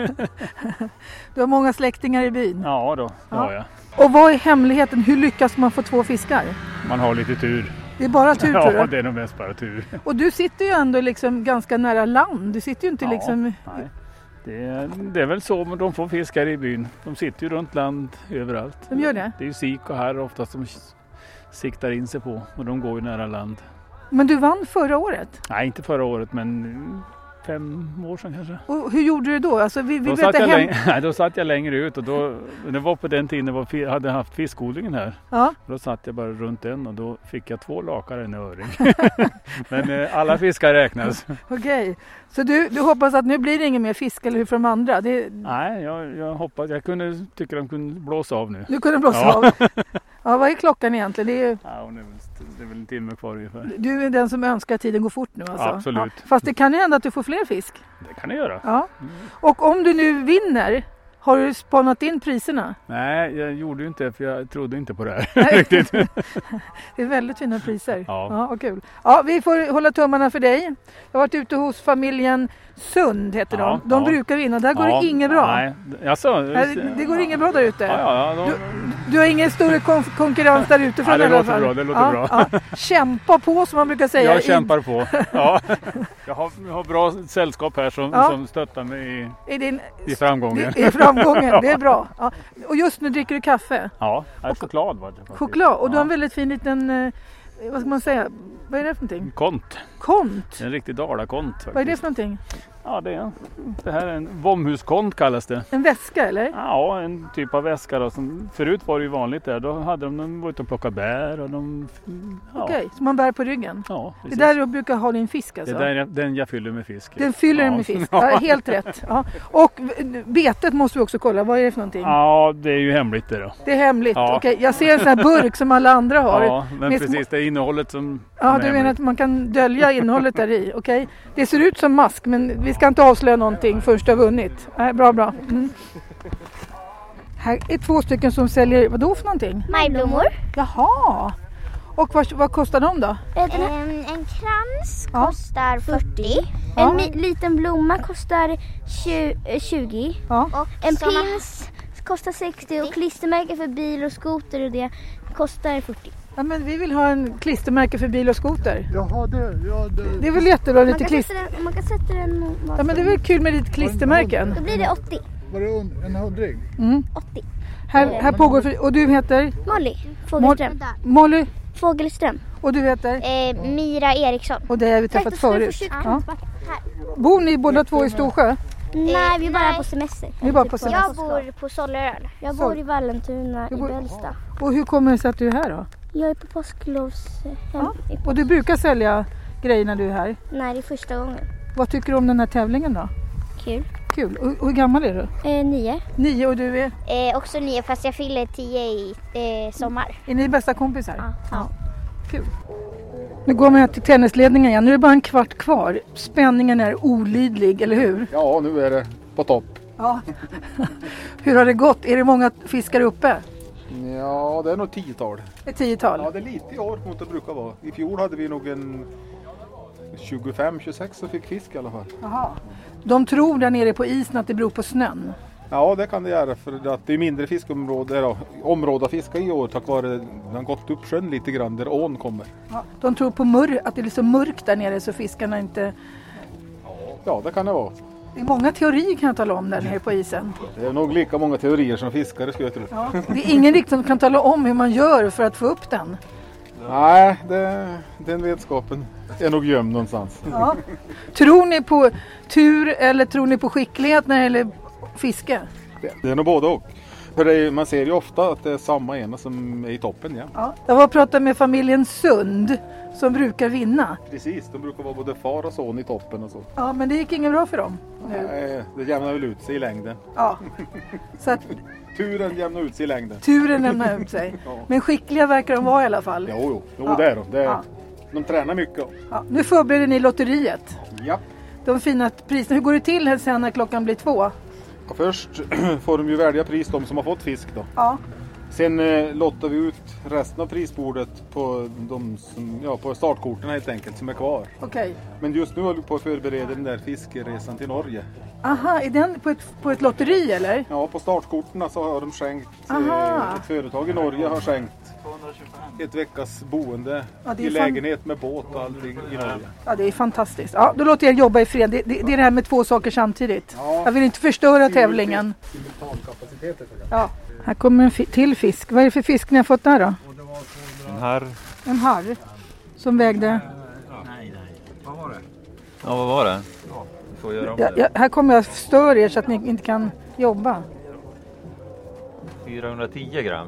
Speaker 1: Du har många släktingar i byn?
Speaker 30: Ja då, det har jag.
Speaker 1: Och vad är hemligheten? Hur lyckas man få två fiskar?
Speaker 30: Man har lite tur.
Speaker 1: Det är bara tur
Speaker 30: Ja,
Speaker 1: tror du?
Speaker 30: det är nog mest bara tur.
Speaker 1: Och du sitter ju ändå liksom ganska nära land. Du sitter ju inte
Speaker 30: Ja,
Speaker 1: liksom...
Speaker 30: nej. Det är, det är väl så men de får fiskar i byn. De sitter ju runt land överallt.
Speaker 1: De gör det?
Speaker 30: Det är ju sik och här oftast de siktar in sig på och de går ju nära land.
Speaker 1: Men du vann förra året.
Speaker 30: Nej, inte förra året men fem Mm, år sedan kanske.
Speaker 1: Och hur gjorde du då? Alltså, vi, vi
Speaker 30: Då
Speaker 1: vet
Speaker 30: satt,
Speaker 1: att
Speaker 30: jag
Speaker 1: hem...
Speaker 30: läng- nej, då satt jag längre ut och då, det var på den tiden jag var fi- hade haft fiskodlingen här.
Speaker 1: Ja.
Speaker 30: Då satt jag bara runt den och då fick jag två lakar och en öring. Men eh, alla fiskar räknas.
Speaker 1: Okej. Så du, du hoppas att nu blir det ingen mer fisk eller hur för de andra? Det...
Speaker 30: Nej, jag, jag hoppas, jag kunde, tycker de kunde blåsa av nu.
Speaker 1: Nu kunde de blåsa
Speaker 30: ja.
Speaker 1: av. Ja, vad är klockan egentligen? Det är ju...
Speaker 30: Ja, hon är väl, det är väl en timme kvar ungefär.
Speaker 1: Du är den som önskar att tiden går fort nu alltså?
Speaker 30: Absolut.
Speaker 1: Ja. Fast det kan ju hända att du får fler fisk?
Speaker 30: Det kan ni göra.
Speaker 1: Ja. Och om du nu vinner, har du spanat in priserna?
Speaker 30: Nej, jag gjorde ju inte det för jag trodde inte på det här riktigt.
Speaker 1: Det är väldigt fina priser.
Speaker 30: Ja.
Speaker 1: ja vad kul. Ja, vi får hålla tummarna för dig. Jag har varit ute hos familjen Sund heter
Speaker 30: Ja,
Speaker 1: de. De
Speaker 30: ja.
Speaker 1: brukar vinna. Där går
Speaker 30: Ja,
Speaker 1: det inget bra.
Speaker 30: Nej, alltså,
Speaker 1: Nej, det- det går inget bra där ute.
Speaker 30: Ja, ja, ja, de-
Speaker 1: Du har ingen större kon- konkurrens där utifrån
Speaker 30: Ja, det
Speaker 1: i alla
Speaker 30: låter
Speaker 1: fall.
Speaker 30: bra, det låter bra.
Speaker 1: ja. Kämpa på som man brukar säga.
Speaker 30: Jag kämpar på. Ja. Jag, har, jag har bra sällskap här som,
Speaker 1: Ja.
Speaker 30: som stöttar mig i,
Speaker 1: I, i, din,
Speaker 30: i framgången.
Speaker 1: I framgången, det är bra. Ja. Och just nu dricker du kaffe.
Speaker 30: Ja, ja, choklad var det. faktiskt.
Speaker 1: Choklad och du har
Speaker 30: ja.
Speaker 1: en väldigt fin liten, eh, vad ska man säga, vad är det för någonting?
Speaker 30: Kont.
Speaker 1: Kont?
Speaker 30: En riktig dalakont faktiskt.
Speaker 1: Vad är det för någonting?
Speaker 30: Ja, det är Det här är en vomhuskont kallas det.
Speaker 1: En väska eller?
Speaker 30: Ja, en typ av väska då, som Förut var det ju vanligt där. Då hade de, de var ute och plockade bär och de... Ja.
Speaker 1: Okej, som man bär på ryggen?
Speaker 30: Ja,
Speaker 1: det
Speaker 30: precis.
Speaker 1: där du brukar ha din fisk alltså?
Speaker 30: Det där, är den jag fyller med fisk.
Speaker 1: Den fyller den med fisk, ja, helt rätt. Ja. Och v- betet måste vi också kolla, vad är det för någonting?
Speaker 30: Ja, det är ju hemligt det då.
Speaker 1: Det är hemligt.
Speaker 30: Ja.
Speaker 1: Okej, jag ser en sån här burk som alla andra har.
Speaker 30: Ja, men
Speaker 1: Med små-
Speaker 30: precis. Det är innehållet som... som
Speaker 1: Ja,
Speaker 30: är
Speaker 1: du menar
Speaker 30: hemligt.
Speaker 1: att man kan dölja innehållet där i. Okej. Det ser ut som mask men vi ska inte avslöja någonting först du har vunnit. Nej, bra, bra. Mm. Här är två stycken som säljer, vad då för någonting?
Speaker 16: Majblommor.
Speaker 1: Jaha! Och vad, vad kostar de då?
Speaker 16: Eh, En, Ehm, en krans
Speaker 1: Ja.
Speaker 16: kostar 40.
Speaker 1: Ja.
Speaker 16: En mi- liten blomma kostar tju- eh, 20. Och en
Speaker 20: såna-
Speaker 16: pins kostar 60 och klistermärken för bil och skoter och det kostar 40.
Speaker 1: Ja, men vi vill ha en klistermärke för bil och skoter.
Speaker 20: Jaha, det, ja, det.
Speaker 1: Det är väl jättebra,
Speaker 16: Man
Speaker 1: lite
Speaker 16: kan,
Speaker 1: klister...
Speaker 16: sätta den, man kan sätta den mot
Speaker 1: Ja, men det är väl kul med lite klistermärken.
Speaker 16: Då blir det 80.
Speaker 20: Var det un- en hundring?
Speaker 1: Mm.
Speaker 16: 80.
Speaker 1: Här, här pågår... för- Och du heter?
Speaker 16: Molly Fågelström.
Speaker 1: Molly?
Speaker 16: Fågelström.
Speaker 1: Och du heter?
Speaker 16: Eh, Mira Eriksson.
Speaker 1: Och det har vi träffat förut. Ja. Bor ni båda två i Storsjö?
Speaker 16: Eh, Nej, vi är bara på semester.
Speaker 1: Ni är bara på semester.
Speaker 16: Jag bor på Sollerön. Jag
Speaker 1: Sol-
Speaker 16: bor i Vallentuna
Speaker 1: Du
Speaker 16: i
Speaker 1: bor-
Speaker 16: Bällsta.
Speaker 1: Och hur kommer det sig att du är här då?
Speaker 16: Jag är på påsklovs...
Speaker 1: Ja. Och du brukar sälja grejer när du är här.
Speaker 16: Nej, det är första gången.
Speaker 1: Vad tycker du om den här tävlingen då?
Speaker 16: Kul.
Speaker 1: Kul. Och, och hur gammal är du?
Speaker 16: Eh, nio.
Speaker 1: Nio och du är?
Speaker 16: Eh, också nio fast jag fyller tio i eh, sommar.
Speaker 1: Är ni bästa kompisar? Ja.
Speaker 16: ja.
Speaker 1: Kul. Nu går man till tennisledningen igen. Nu är det bara en kvart kvar. Spänningen är olidlig, eller hur?
Speaker 3: Ja, nu är det på topp.
Speaker 1: Ja. hur har det gått? Är det många fiskar uppe?
Speaker 3: Ja, det är nog tiotal.
Speaker 1: Ett tiotal?
Speaker 3: Ja, det är lite i år mot det brukar vara. I fjol hade vi nog en 25-26 som fick fisk i alla fall.
Speaker 1: Jaha. De tror där nere på isen att det beror på snön.
Speaker 8: Ja det kan det göra för att det är mindre fiskområde, då, område att fiska i år tack vare den har gått upp sjön lite grann där ån kommer.
Speaker 1: Ja, de tror på mör- att det är så mörkt där nere så fiskarna inte...
Speaker 8: Ja det kan det vara.
Speaker 1: Det är många teorier kan jag tala om där nere på isen.
Speaker 8: Det är nog lika många teorier som fiskare skulle jag tro.
Speaker 1: Ja, det är ingen riktigt som kan tala om hur man gör för att få upp den.
Speaker 8: Nej, det, den vetskapen är nog gömd någonstans.
Speaker 1: Ja. Tror ni på tur eller tror ni på skicklighet när det gäller fiske?
Speaker 8: Det är nog både och. För det är, man ser ju ofta att det är samma ena som är i toppen. Ja.
Speaker 1: Ja. Jag var och pratade med familjen Sund som brukar vinna.
Speaker 8: Precis, de brukar vara både far och son i toppen och så.
Speaker 1: Ja, men det gick inget bra för dem.
Speaker 8: Nej, det jämnar väl ut sig i längden.
Speaker 1: Ja. Så att
Speaker 8: Turen jämnar ut sig i längden.
Speaker 1: turen lämnar ut sig.
Speaker 8: Ja.
Speaker 1: Men skickliga verkar de vara i alla fall.
Speaker 8: Jo, jo, jo
Speaker 1: Ja.
Speaker 8: det är de. Det är,
Speaker 1: Ja.
Speaker 8: De tränar mycket.
Speaker 1: Ja, nu förbereder ni lotteriet.
Speaker 8: Ja.
Speaker 1: De fina priserna. Hur går det till här sen när klockan blir två?
Speaker 8: Och Först får de ju välja pris de som har fått fisk då.
Speaker 1: Ja.
Speaker 8: Sen eh, lottar vi ut resten av prisbordet på, de som, ja, på startkorten helt enkelt som är kvar.
Speaker 1: Okej.
Speaker 8: Men just nu håller vi på att förbereda den där fiskeresan till Norge.
Speaker 1: Aha, är den på ett, på ett lotteri eller?
Speaker 8: Ja, på startkorten så har de skänkt,
Speaker 1: Aha.
Speaker 8: eh, ett företag i Norge har skänkt ett veckas boende
Speaker 1: Ja, det är
Speaker 8: i
Speaker 1: fan-
Speaker 8: lägenhet med båt och allting i Norge.
Speaker 1: Ja, det är fantastiskt. Ja, då låter jag jobba i fred. Det, det, det är det här med två saker samtidigt. Jag vill inte förstöra tävlingen.
Speaker 8: Simultankapaciteter.
Speaker 1: Ja. Här kommer en fi- till fisk. Vad är det för fisk ni har fått där då?
Speaker 4: Den här,
Speaker 1: En harr som vägde...
Speaker 4: ja vad var det? Vi får göra om
Speaker 1: Ja, ja,
Speaker 4: det.
Speaker 1: här kommer jag störa er så att ni inte kan jobba.
Speaker 4: 410 gram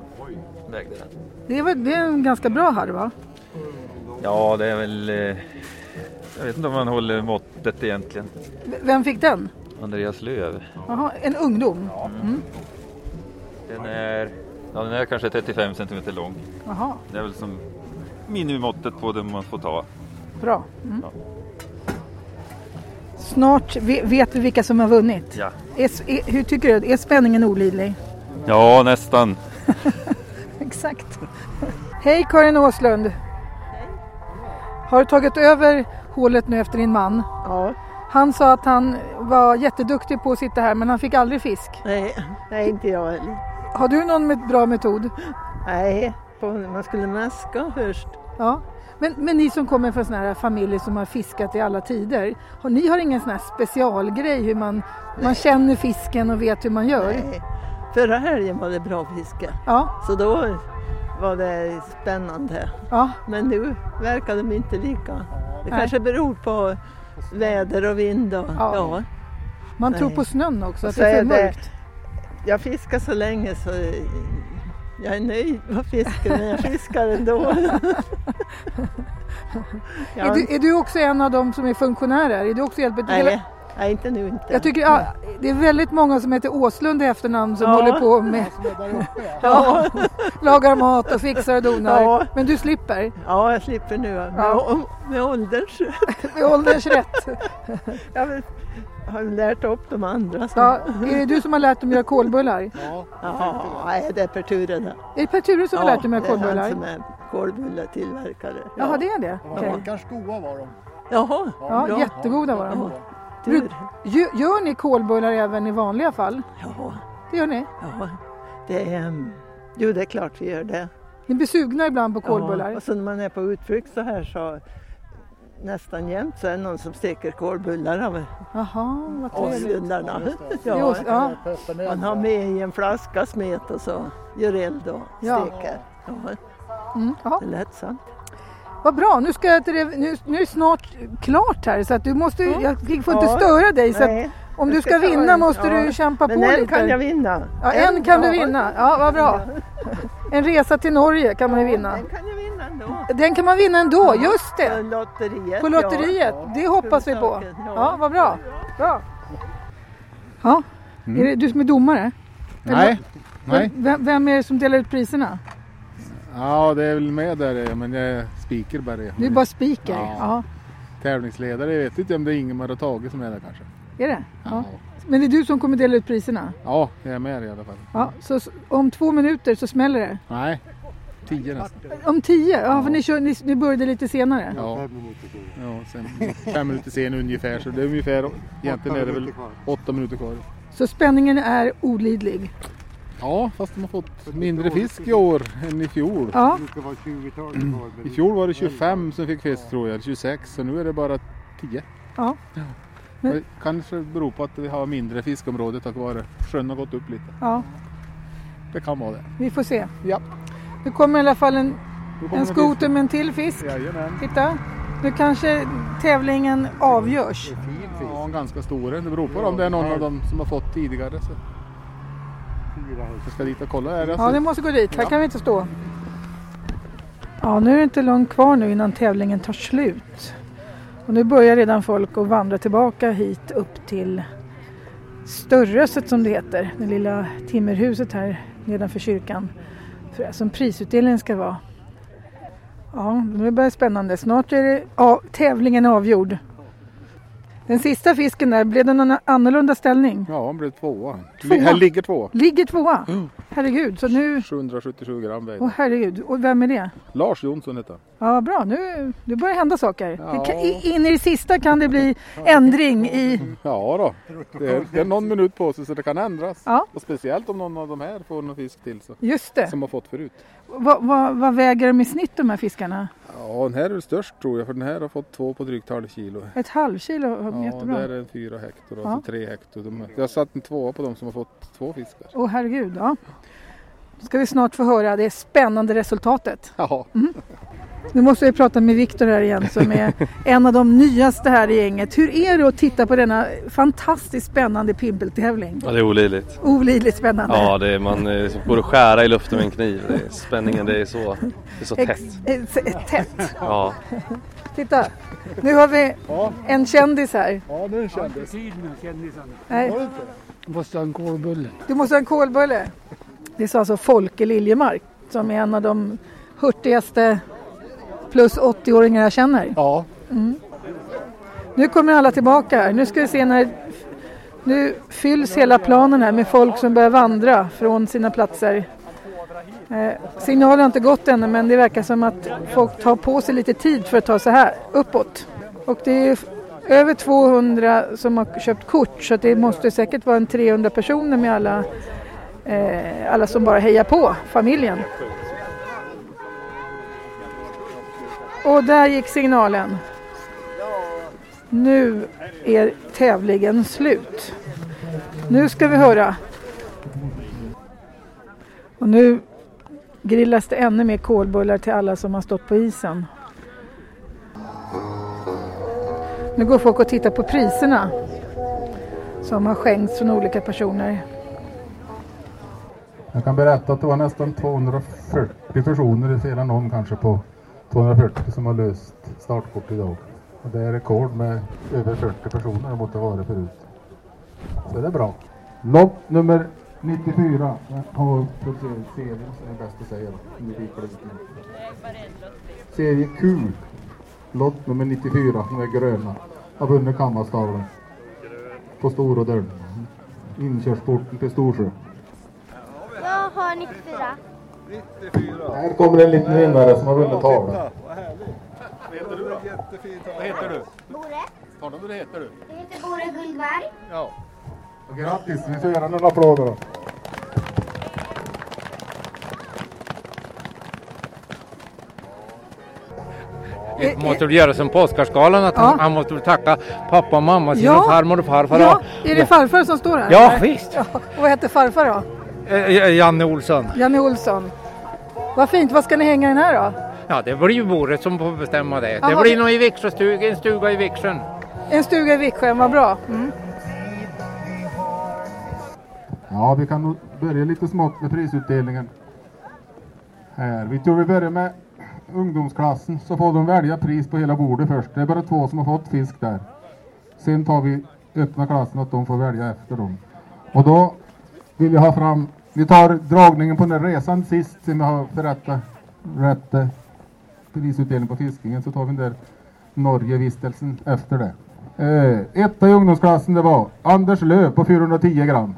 Speaker 4: vägde den.
Speaker 1: Det, var, det är en ganska bra harr va?
Speaker 4: Ja, det är väl... eh, Jag vet inte om man håller måttet egentligen.
Speaker 1: V- Vem fick den?
Speaker 4: Andreas Löv.
Speaker 1: Jaha, en ungdom? Mm.
Speaker 4: Den är, ja, den är kanske 35 centimeter lång.
Speaker 1: Jaha,
Speaker 4: Det är väl som minimimåttet på det man får ta.
Speaker 1: bra. Mm. Snart ve- vet vi vilka som har vunnit.
Speaker 4: Ja.
Speaker 1: Är, s- är, hur tycker du? Är spänningen olidlig?
Speaker 4: Ja, nästan.
Speaker 1: Exakt. Hej Karin Åslund. Har du tagit över hålet nu efter din man? Ja. Han sa att han var jätteduktig på att sitta här men han fick aldrig fisk.
Speaker 31: Nej, nej inte jag heller.
Speaker 1: Har du någon med bra metod?
Speaker 31: Nej, på- man skulle maska först.
Speaker 1: Ja. Men, men ni som kommer från sådana här familjer som har fiskat i alla tider. Har, ni har ingen sån här specialgrej hur man, man känner fisken och vet hur man gör?
Speaker 31: Nej. Förra helgen var det bra fiske.
Speaker 1: Ja.
Speaker 31: Så då var det spännande.
Speaker 1: Ja.
Speaker 31: Men nu verkar de inte lika. Det
Speaker 1: Nej.
Speaker 31: kanske beror på väder och vind och ja.
Speaker 1: Man tror
Speaker 31: Nej.
Speaker 1: på snön också,
Speaker 31: Och
Speaker 1: att
Speaker 31: så
Speaker 1: det är
Speaker 31: är
Speaker 1: så
Speaker 31: det-
Speaker 1: mörkt.
Speaker 31: Jag fiskar så länge så jag är nöjd med fisken men jag fiskar ändå. Ja.
Speaker 1: Är, du, är du också en av dem som är funktionärer? Är du också hjälper till?
Speaker 31: Nej, nej, inte nu inte.
Speaker 1: Jag tycker ja, det är väldigt många som heter Åslund i efternamn som
Speaker 31: Ja.
Speaker 1: håller på med ja. lagar mat och fixar och donar.
Speaker 31: Ja.
Speaker 1: Men du slipper?
Speaker 31: Ja, jag slipper nu. Med,
Speaker 1: Ja.
Speaker 31: med ålders...
Speaker 1: med ålders rätt.
Speaker 31: jag vill- har lärt upp de andra. som-
Speaker 1: Ja, är det du som har lärt dem göra kolbullar? Ja.
Speaker 31: Ja, nej, det är Per Ture det.
Speaker 1: Är det Per Ture som har lärt dig med
Speaker 31: det
Speaker 1: kolbullar?
Speaker 31: är han som är kolbulletillverkare.
Speaker 1: Jaha, det är det? Okej.
Speaker 31: Mackarns goa var de. Jaha,
Speaker 1: Ja,
Speaker 31: bra.
Speaker 1: jättegoda var de.
Speaker 31: Tur.
Speaker 1: Bruk- gö- Gör ni kolbullar även i vanliga fall?
Speaker 31: Ja.
Speaker 1: Det gör ni?
Speaker 31: Ja, det är... mm, Jo, det är klart vi gör det.
Speaker 1: Ni blir sugna ibland på kolbullar?
Speaker 31: Ja, och så när man är på utflykt så här så nästan jämt så är det någon som steker kolbullar av
Speaker 1: Jaha, vad trevligt.
Speaker 31: åslundarna.
Speaker 1: Jo, ja.
Speaker 31: Man har med i en flaska smet och så gör eld och
Speaker 1: Ja.
Speaker 31: steker. Ja.
Speaker 1: Mm, jaha.
Speaker 31: Det lät sant.
Speaker 1: Vad bra, nu, ska jag till det, nu, nu är det snart klart här så att du måste, jag får inte
Speaker 31: Ja.
Speaker 1: störa dig. Så
Speaker 31: Nej,
Speaker 1: att om
Speaker 31: jag
Speaker 1: du ska
Speaker 31: ta
Speaker 1: vinna
Speaker 31: en.
Speaker 1: måste
Speaker 31: Ja.
Speaker 1: du kämpa
Speaker 31: Men
Speaker 1: på
Speaker 31: en
Speaker 1: lite.
Speaker 31: kan jag vinna.
Speaker 1: Ja, en,
Speaker 31: En,
Speaker 1: kan
Speaker 31: ja.
Speaker 1: du vinna, ja vad bra. En resa till Norge kan man ju vinna.
Speaker 31: Den kan jag vinna ändå.
Speaker 1: Den kan man vinna ändå, just
Speaker 31: På
Speaker 1: det!
Speaker 31: lotteriet.
Speaker 1: På lotteriet,
Speaker 31: ja.
Speaker 1: det hoppas vi på.
Speaker 31: Huvudsaken,
Speaker 1: Ja, vad bra. bra. Ja,
Speaker 31: Mm.
Speaker 1: är det du som är domare? Eller-
Speaker 8: Nej, nej.
Speaker 1: Vem, vem är det som delar ut priserna?
Speaker 8: Ja, det är väl med där eh, men jag är speaker bara.
Speaker 1: Du är bara speaker? Ja.
Speaker 8: Tävlingsledare, jag vet inte om det är Ingemar och Tage som är där kanske.
Speaker 1: Är det? Ja. Men det är du som kommer dela ut priserna?
Speaker 8: Ja, jag är med i alla fall.
Speaker 1: Ja, så s- om två minuter så smäller det?
Speaker 8: Nej, tio nästan.
Speaker 1: Om tio? Ja, för ni, kör, ni, ni började lite senare?
Speaker 8: Ja, fem minuter sen, fem minuter sen ungefär. Så det är ungefär, egentligen är det väl åtta minuter kvar.
Speaker 1: Så spänningen är olidlig.
Speaker 3: Ja, fast de har fått mindre fisk i år än i fjol.
Speaker 1: Ja.
Speaker 20: Det brukar vara 20-tal kvar.
Speaker 3: I fjol var det 25 som fick fisk tror jag, 26 så nu är det bara 10.
Speaker 1: Ja.
Speaker 3: Men... Det kanske beror på att vi har mindre fiskområde tack vare sjön har gått upp lite.
Speaker 1: Ja,
Speaker 3: Det kan vara det.
Speaker 1: vi får se.
Speaker 3: Ja.
Speaker 1: Det kommer i alla fall en,
Speaker 3: kommer
Speaker 1: en
Speaker 3: en
Speaker 1: skoter
Speaker 3: fisk.
Speaker 1: med en till fisk.
Speaker 3: Jajamän.
Speaker 1: Titta, nu kanske tävlingen avgörs.
Speaker 3: Ja, en ganska stor en. Det beror på om det är någon av dem som har fått tidigare. Så. Jag ska dit och kolla. Är det alltså-
Speaker 1: Ja,
Speaker 3: så-
Speaker 1: ni måste gå dit. Här
Speaker 3: Ja.
Speaker 1: kan vi inte stå. Ja, nu är det inte långt kvar nu innan tävlingen tar slut. Och nu börjar redan folk att vandra tillbaka hit upp till Störröset som det heter, det lilla timmerhuset här nedanför kyrkan. För- Som prisutdelningen ska vara. Ja, nu börjar det spännande. Snart är det ja, tävlingen avgjord. Den sista fisken där, blev den någon annorlunda ställning?
Speaker 3: Ja, han blev tvåa.
Speaker 1: Tvåa?
Speaker 3: Här ligger tvåa.
Speaker 1: Ligger tvåa? Herregud, så nu...
Speaker 3: 777 gram väger
Speaker 1: Åh herregud, och vem är det?
Speaker 3: Lars Jonsson heter han.
Speaker 1: Ja, bra. Nu, nu börjar det hända saker. Det kan,
Speaker 3: Ja.
Speaker 1: i- in i det sista kan det bli ändring i...
Speaker 3: Ja då, det är, det är någon minut på sig så det kan ändras.
Speaker 1: Ja.
Speaker 3: Och speciellt om någon av de här får någon fisk till. Så.
Speaker 1: Just det.
Speaker 3: Som har fått förut.
Speaker 1: Vad, vad, vad väger de i snitt de här fiskarna?
Speaker 3: Ja, den här är störst tror jag för den här har fått två på drygt halv kilo.
Speaker 1: Ett halvkilo?
Speaker 3: Ja,
Speaker 1: Jättebra.
Speaker 3: där är en fyra hektar och
Speaker 1: Ja.
Speaker 3: så tre hektar. De, jag har satt en tvåa på de som har fått två fiskar.
Speaker 1: Åh herregud, ja. Då ska vi snart få höra det spännande resultatet. Mm.
Speaker 3: Ja.
Speaker 1: Nu måste vi prata med Viktor här igen som är en av de nyaste här i gänget. Hur är det att titta på denna fantastiskt spännande pimpeltävling?
Speaker 17: Ja, det är olidligt.
Speaker 1: Olidligt spännande.
Speaker 17: Ja, det är, man eh, går och skära i luften med en kniv. Det är, spänningen, det är så, det är så
Speaker 1: Ex-
Speaker 17: tätt.
Speaker 1: ex- eh, tätt.
Speaker 17: Ja.
Speaker 1: Titta, nu har vi en kändis här.
Speaker 18: Ja, nu kändes. Ja, inte kändisen.
Speaker 1: Nej.
Speaker 18: Måste ha en kolbulle.
Speaker 1: Du måste ha en kolbulle. Det sa alltså Folke Liljemark som är en av de hurtigaste plus 80-åringar jag känner.
Speaker 3: Ja.
Speaker 1: Mm. Nu kommer alla tillbaka här. Nu ska vi se när... Nu fylls hela planen här med folk som börjar vandra från sina platser. Eh, signalen har inte gått ännu men det verkar som att folk tar på sig lite tid för att ta sig här uppåt. Och det är f- över 200 som har köpt kort så att det måste säkert vara en 300 personer med alla, eh, alla som bara hejar på familjen. Och där gick signalen. Nu är tävlingen slut. Nu ska vi höra. Och nu grillas det ännu mer kolbullar till alla som har stått på isen. Nu går folk och tittar på priserna som har skänkts från olika personer.
Speaker 8: Jag kan berätta att det var nästan 240 personer, fel än någon kanske, på 240 som har löst startkort idag. Och det är rekord med över 40 personer mot det varit förut. Så det är bra. Lopp nummer 94 har serien som är bäst att säga. Serie Q. Lott nummer 94, som är gröna, har vunnit Kammarstavlan. På Storådörren. Inkörsporten till Storsjö.
Speaker 16: Jag har 94.
Speaker 8: Här kommer en liten vinnare som har vunnit tavlan.
Speaker 3: Vad heter du?
Speaker 16: Bore.
Speaker 3: Talar du vad heter du?
Speaker 16: Jag heter Bore Guldberg.
Speaker 3: Ja.
Speaker 8: Och Grattis, vi får göra några applåder då.
Speaker 13: Det måste väl göra som på Oscarsgalan att
Speaker 1: Eh, Ja.
Speaker 13: han, han måste väl tacka pappa och mamma, sin
Speaker 1: Ja.
Speaker 13: och farmor och farfar.
Speaker 1: Ja, är det farfar som står här?
Speaker 13: Ja,
Speaker 1: eller?
Speaker 13: visst.
Speaker 1: Ja, och vad heter farfar då?
Speaker 13: Eh, eh, Janne Olsson.
Speaker 1: Janne Olsson. Vad fint, vad ska ni hänga den här då?
Speaker 13: Ja, det blir ju Boret som får bestämma det.
Speaker 1: Jaha,
Speaker 13: det blir
Speaker 1: det-
Speaker 13: nog i Viksjöstuga, en stuga i Viksjön.
Speaker 1: En stuga i Viksjön, vad bra. Mm.
Speaker 8: Ja, vi kan nog börja lite smått med prisutdelningen. Här, vi tror vi börjar med ungdomsklassen så får de välja pris på hela bordet först. Det är bara två som har fått fisk där. Sen tar vi öppna klassen att de får välja efter dem. Och då vill jag ha fram, vi tar dragningen på den här resan sist sen vi har förrättat rätt eh, prisutdelning på fiskingen så tar vi den där Norgevistelsen efter det. Eh, etta i ungdomsklassen det var Anders Löv på 410 gram.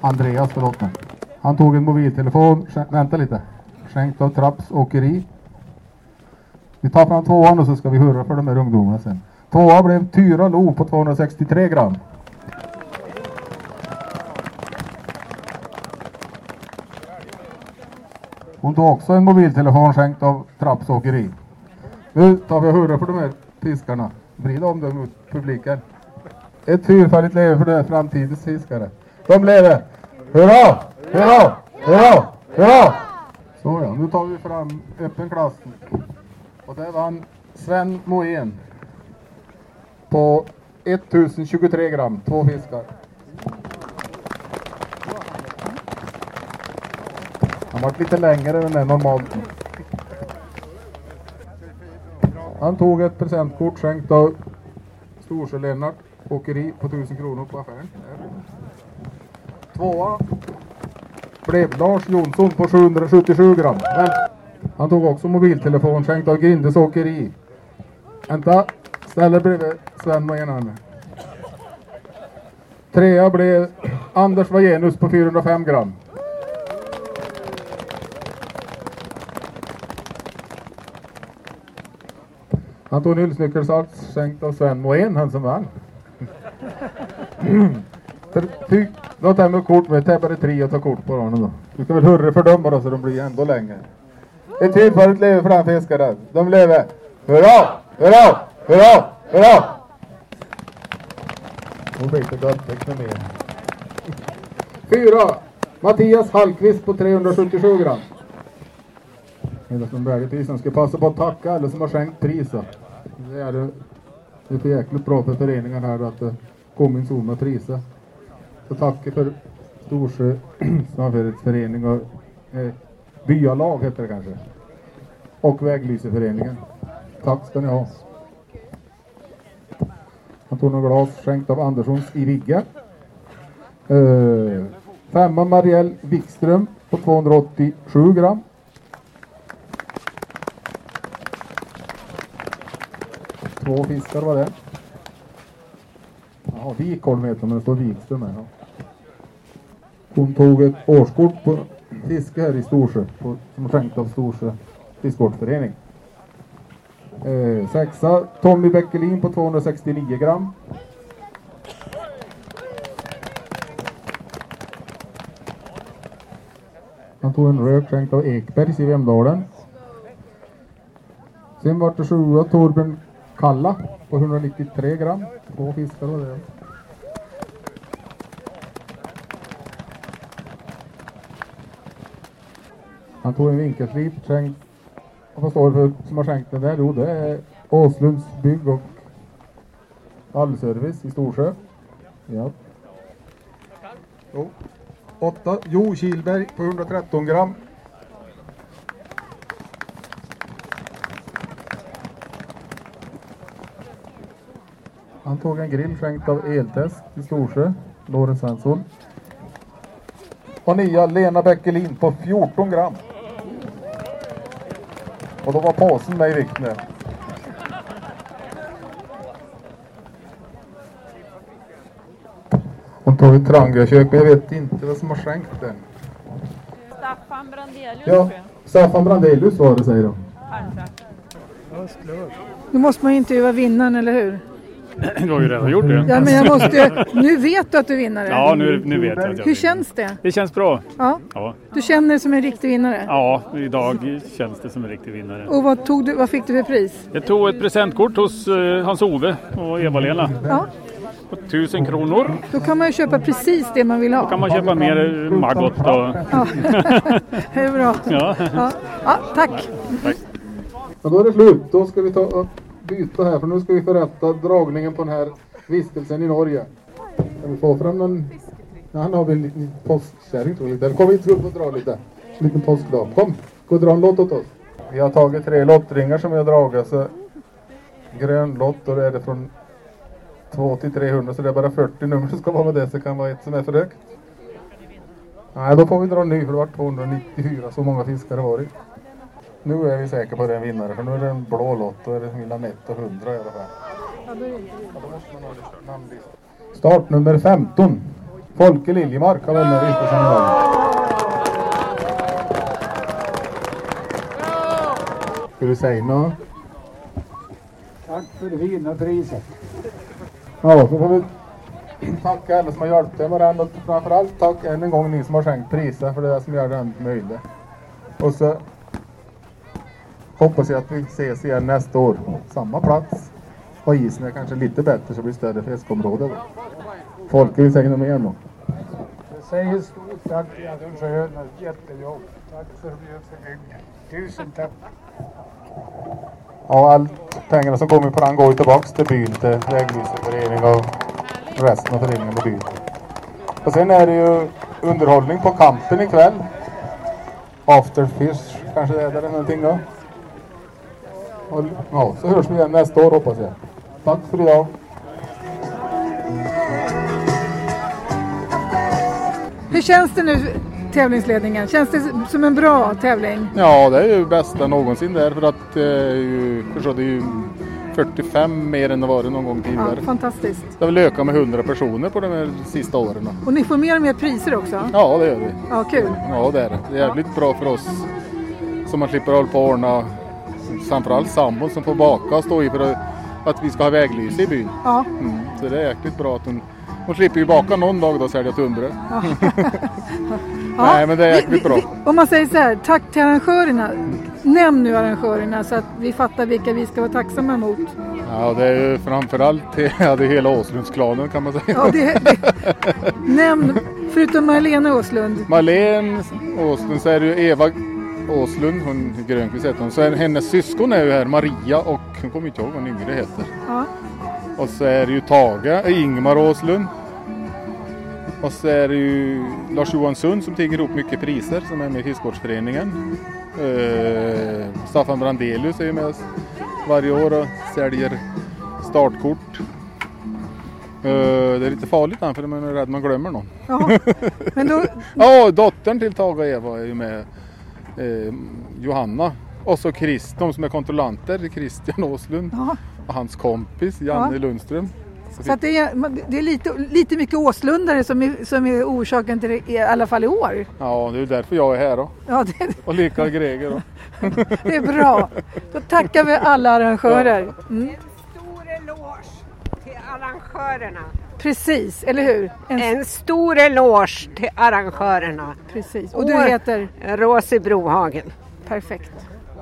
Speaker 8: Andreas, förlåt mig. Han tog en mobiltelefon, skän- vänta lite, skänkt av Trapps Åkeri. Vi tar fram tvåan och så ska vi hurra för de här ungdomarna sen. Tvåa blev Tyra Lo på 263 gram. Hon tog också en mobiltelefon skänkt av Trapps åkeri. Nu tar vi och hurrar för de här fiskarna. Vrid om dem mot publiken. Ett fyrfaldigt leve för de framtidens fiskare. De lever! Hurra! Hurra! Hurra! Hurra! Så ja, nu tar vi fram öppen klass. Och där vann Sven Moen på 1023 gram, två fiskar. Han var lite längre än det normalt. Han tog ett presentkort skänkt av Storsjö-Lennart Åkeri på 1000 kronor på affären. Tvåa blev Lars Jonsson på 777 gram. Men han tog också mobiltelefon skänkt av Grindes Åkeri. Vänta, ställer bredvid Sven Wagenander. Trea blev Anders Wagenus på 405 gram. Han tog en ullsnyckelsats skänkt av Sven Moen, han som vann. Ty- Då tar jag kort med täppade tre och tar kort på dem då. Du kan väl hurra för dem bara så de blir ändå längre. Ett tillfälligt lever för den fiskaren. De lever. Hurra! Hurra! Hurra! Hurra! Hon fick det dödtäckt med mer. Fyra! Mattias Hallqvist på 377 gram. Eller som värde prisen. Ska passa på att tacka alla som har skänkt pris då. Det är det. Det är för jäkligt bra för föreningen här att det kom in så med priser. Så tack för Storsjö samfällighetsförening och eh, byalag heter det kanske. Och väglyseföreningen. Tack ska ni ha. Han tog några glas skänkt av Anderssons i Vigga. Eh, femma Marielle Wikström på 287 gram. Två fiskar var det. Ja, Wikholm heter hon, men det står Wikström här. Ja. Hon tog ett årskort på fiske här i Storsjö, på, som skänkt av Storsjö fiskevårdsförening. Eh, sexa, Tommy Bäckelin på 269 gram. Han tog en rök skänkt av Ekbergs i Vemdalen. Sen vart det sjua Torbjörn Kalla på 193 gram. Två fiskar var det. Han tog en vinkelslip skänkt. och Vad står det för som har skänkt den där? Jo, det är Åslunds bygg och allservice i Storsjö. Ja. Jo. Åtta, Jo Kilberg på 113 gram. Han tog en grill skänkt av Eltest i Storsjö, Lorentz Svensson. Och nya Lena Bäckelin på 14 gram. Och då var påsen med i vikt nu. Hon tog ett Trangiakök, men jag vet inte vem som har skänkt den.
Speaker 9: Staffan Brandelius
Speaker 8: Ja, Staffan Brandelius var det säger de.
Speaker 1: Nu måste man ju intervjua vinnaren, eller hur?
Speaker 30: Du har ju redan gjort det.
Speaker 1: Ja, men jag måste ju... Nu vet du att du är vinnare.
Speaker 30: Ja, nu, nu vet jag att jag
Speaker 1: Hur känns det?
Speaker 30: Det känns bra.
Speaker 1: Ja.
Speaker 30: Ja.
Speaker 1: Du känner dig som en riktig vinnare?
Speaker 30: ja, idag känns det som en riktig vinnare.
Speaker 1: Och vad, tog du, vad fick du för pris?
Speaker 30: Jag tog ett presentkort hos eh, Hans-Ove och Eva-Lena.
Speaker 1: Ja.
Speaker 30: På 1000 kronor.
Speaker 1: Då kan man ju köpa precis det man vill ha. Då
Speaker 30: kan man köpa mer eh, Margot och...
Speaker 1: Ja. det är bra.
Speaker 30: Ja.
Speaker 1: Ja. Ja, tack.
Speaker 8: Ja, då är det slut. Då ska vi ta och byta här för nu ska vi förrätta dragningen på den här vistelsen i Norge. Kan vi få fram någon... Ja, han har väl en liten påskkärring tror jag. Där Kom hit upp och dra lite. En liten påskdag. Kom, gå och dra en lott åt oss. Vi har tagit tre lottringar som vi har dragit. Så grön lott och då är det från 2 till 300 så det är bara 40 nummer som ska vara med det så det kan vara ett som är för högt. Nej, då får vi dra en ny för det var 294 så många fiskar det var det. Nu är vi säkra på den vinnare för nu är det en blå lott och är det Milla Nett och 100 i alla fall. Start nummer 15. Folke Liljemark har vunnit Rikesson idag. Ska du säga något?
Speaker 17: Tack för det fina priset.
Speaker 15: Ja, så får vi tacka alla som har hjälpt till med den och framförallt tack än en gång ni som har skänkt priser för det är det som gör den möjlig. Och så hoppas jag att vi ses igen nästa år. Samma plats. Och isen är kanske lite bättre så blir det större fiskområde. då. Folke vill säga något mer nu.
Speaker 17: Jag säger stort tack till Adolf Sjöhön och ett jättejobb. Tack för att du gör för bygden. Tusen tack.
Speaker 15: Ja, all pengarna som kommer på den går ju tillbaks till byn, till vägvisarförening och resten av föreningen på byn. Och sen är det ju underhållning på kampen ikväll. Afterfish kanske det är eller någonting då. Och, ja, så hörs vi igen nästa år hoppas jag. Tack för idag.
Speaker 1: Hur känns det nu, tävlingsledningen? Känns det som en bra tävling?
Speaker 8: Ja, det är ju bästa någonsin där för att det är ju, förstå, det är ju 45 mer än det varit någon gång
Speaker 1: Ja,
Speaker 8: tidigare.
Speaker 1: fantastiskt.
Speaker 8: Det har väl ökat med 100 personer på de här sista åren.
Speaker 1: Och ni får mer och mer priser också?
Speaker 8: Ja, det gör vi.
Speaker 1: Ja, kul.
Speaker 8: Ja, det är det. Det är jävligt bra för oss som man slipper hålla på och ordna framförallt sambon som får baka och stå i för att- att vi ska ha väglyse i byn.
Speaker 1: Ja.
Speaker 8: Mm, så det är jäkligt bra att hon, hon slipper ju baka någon dag då och sälja tunnbröd. Nej, men det är jäkligt bra.
Speaker 1: Om man säger så här, tack till arrangörerna. Nämn nu arrangörerna så att vi fattar vilka vi ska vara tacksamma mot.
Speaker 8: Ja, det är ju framförallt ja, det är hela Åslundsklanen kan man säga.
Speaker 1: Ja, det, det, nämn, förutom Marlena Åslund.
Speaker 8: Marlene Åslund så är det ju Eva Åslund, hon Grönqvist heter hon. Så är hennes syskon är ju här, Maria och hon kommer inte ihåg vad den yngre heter.
Speaker 1: Ja.
Speaker 8: Och så är det ju Tage, eh, Ingmar Åslund. Och så är det ju Lars Johan Sund som tigger ihop mycket priser som är med i Fiskvårdsföreningen. Eh, Staffan Brandelius är ju med oss varje år och säljer startkort. Eh, det är lite farligt han för man är rädd man glömmer någon.
Speaker 1: Ja, men då...
Speaker 8: ja, dottern till Tage och Eva är ju med. Eh, Johanna. Och så Chris, de som är kontrollanter, det är Christian Åslund och hans kompis Janne
Speaker 1: Ja.
Speaker 8: Lundström.
Speaker 1: Så att det är, man- det är lite, lite mycket Åslundare som är, som är orsaken till det, i alla fall i år.
Speaker 8: Ja, det är ju därför jag är här då.
Speaker 1: Ja, det,
Speaker 8: Och lika Greger då.
Speaker 1: det är bra. Då tackar vi alla arrangörer. Mm.
Speaker 16: stor eloge till arrangörerna.
Speaker 1: Precis, eller hur? En,
Speaker 16: stor eloge till arrangörerna.
Speaker 1: Precis. Och du heter?
Speaker 16: Rosie Brohagen.
Speaker 1: Perfekt.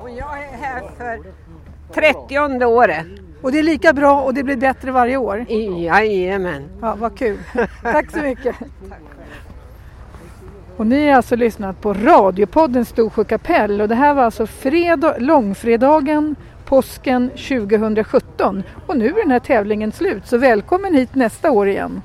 Speaker 16: Och jag är här för 30 året.
Speaker 1: Och det är lika bra och det blir bättre varje år?
Speaker 16: Jajamän.
Speaker 1: Ja, vad kul. Tack så mycket. Och ni har alltså lyssnat på radiopodden Storsjö kapell och det här var alltså fredag, långfredagen påsken 2017 och nu är den här tävlingen slut så välkommen hit nästa år igen.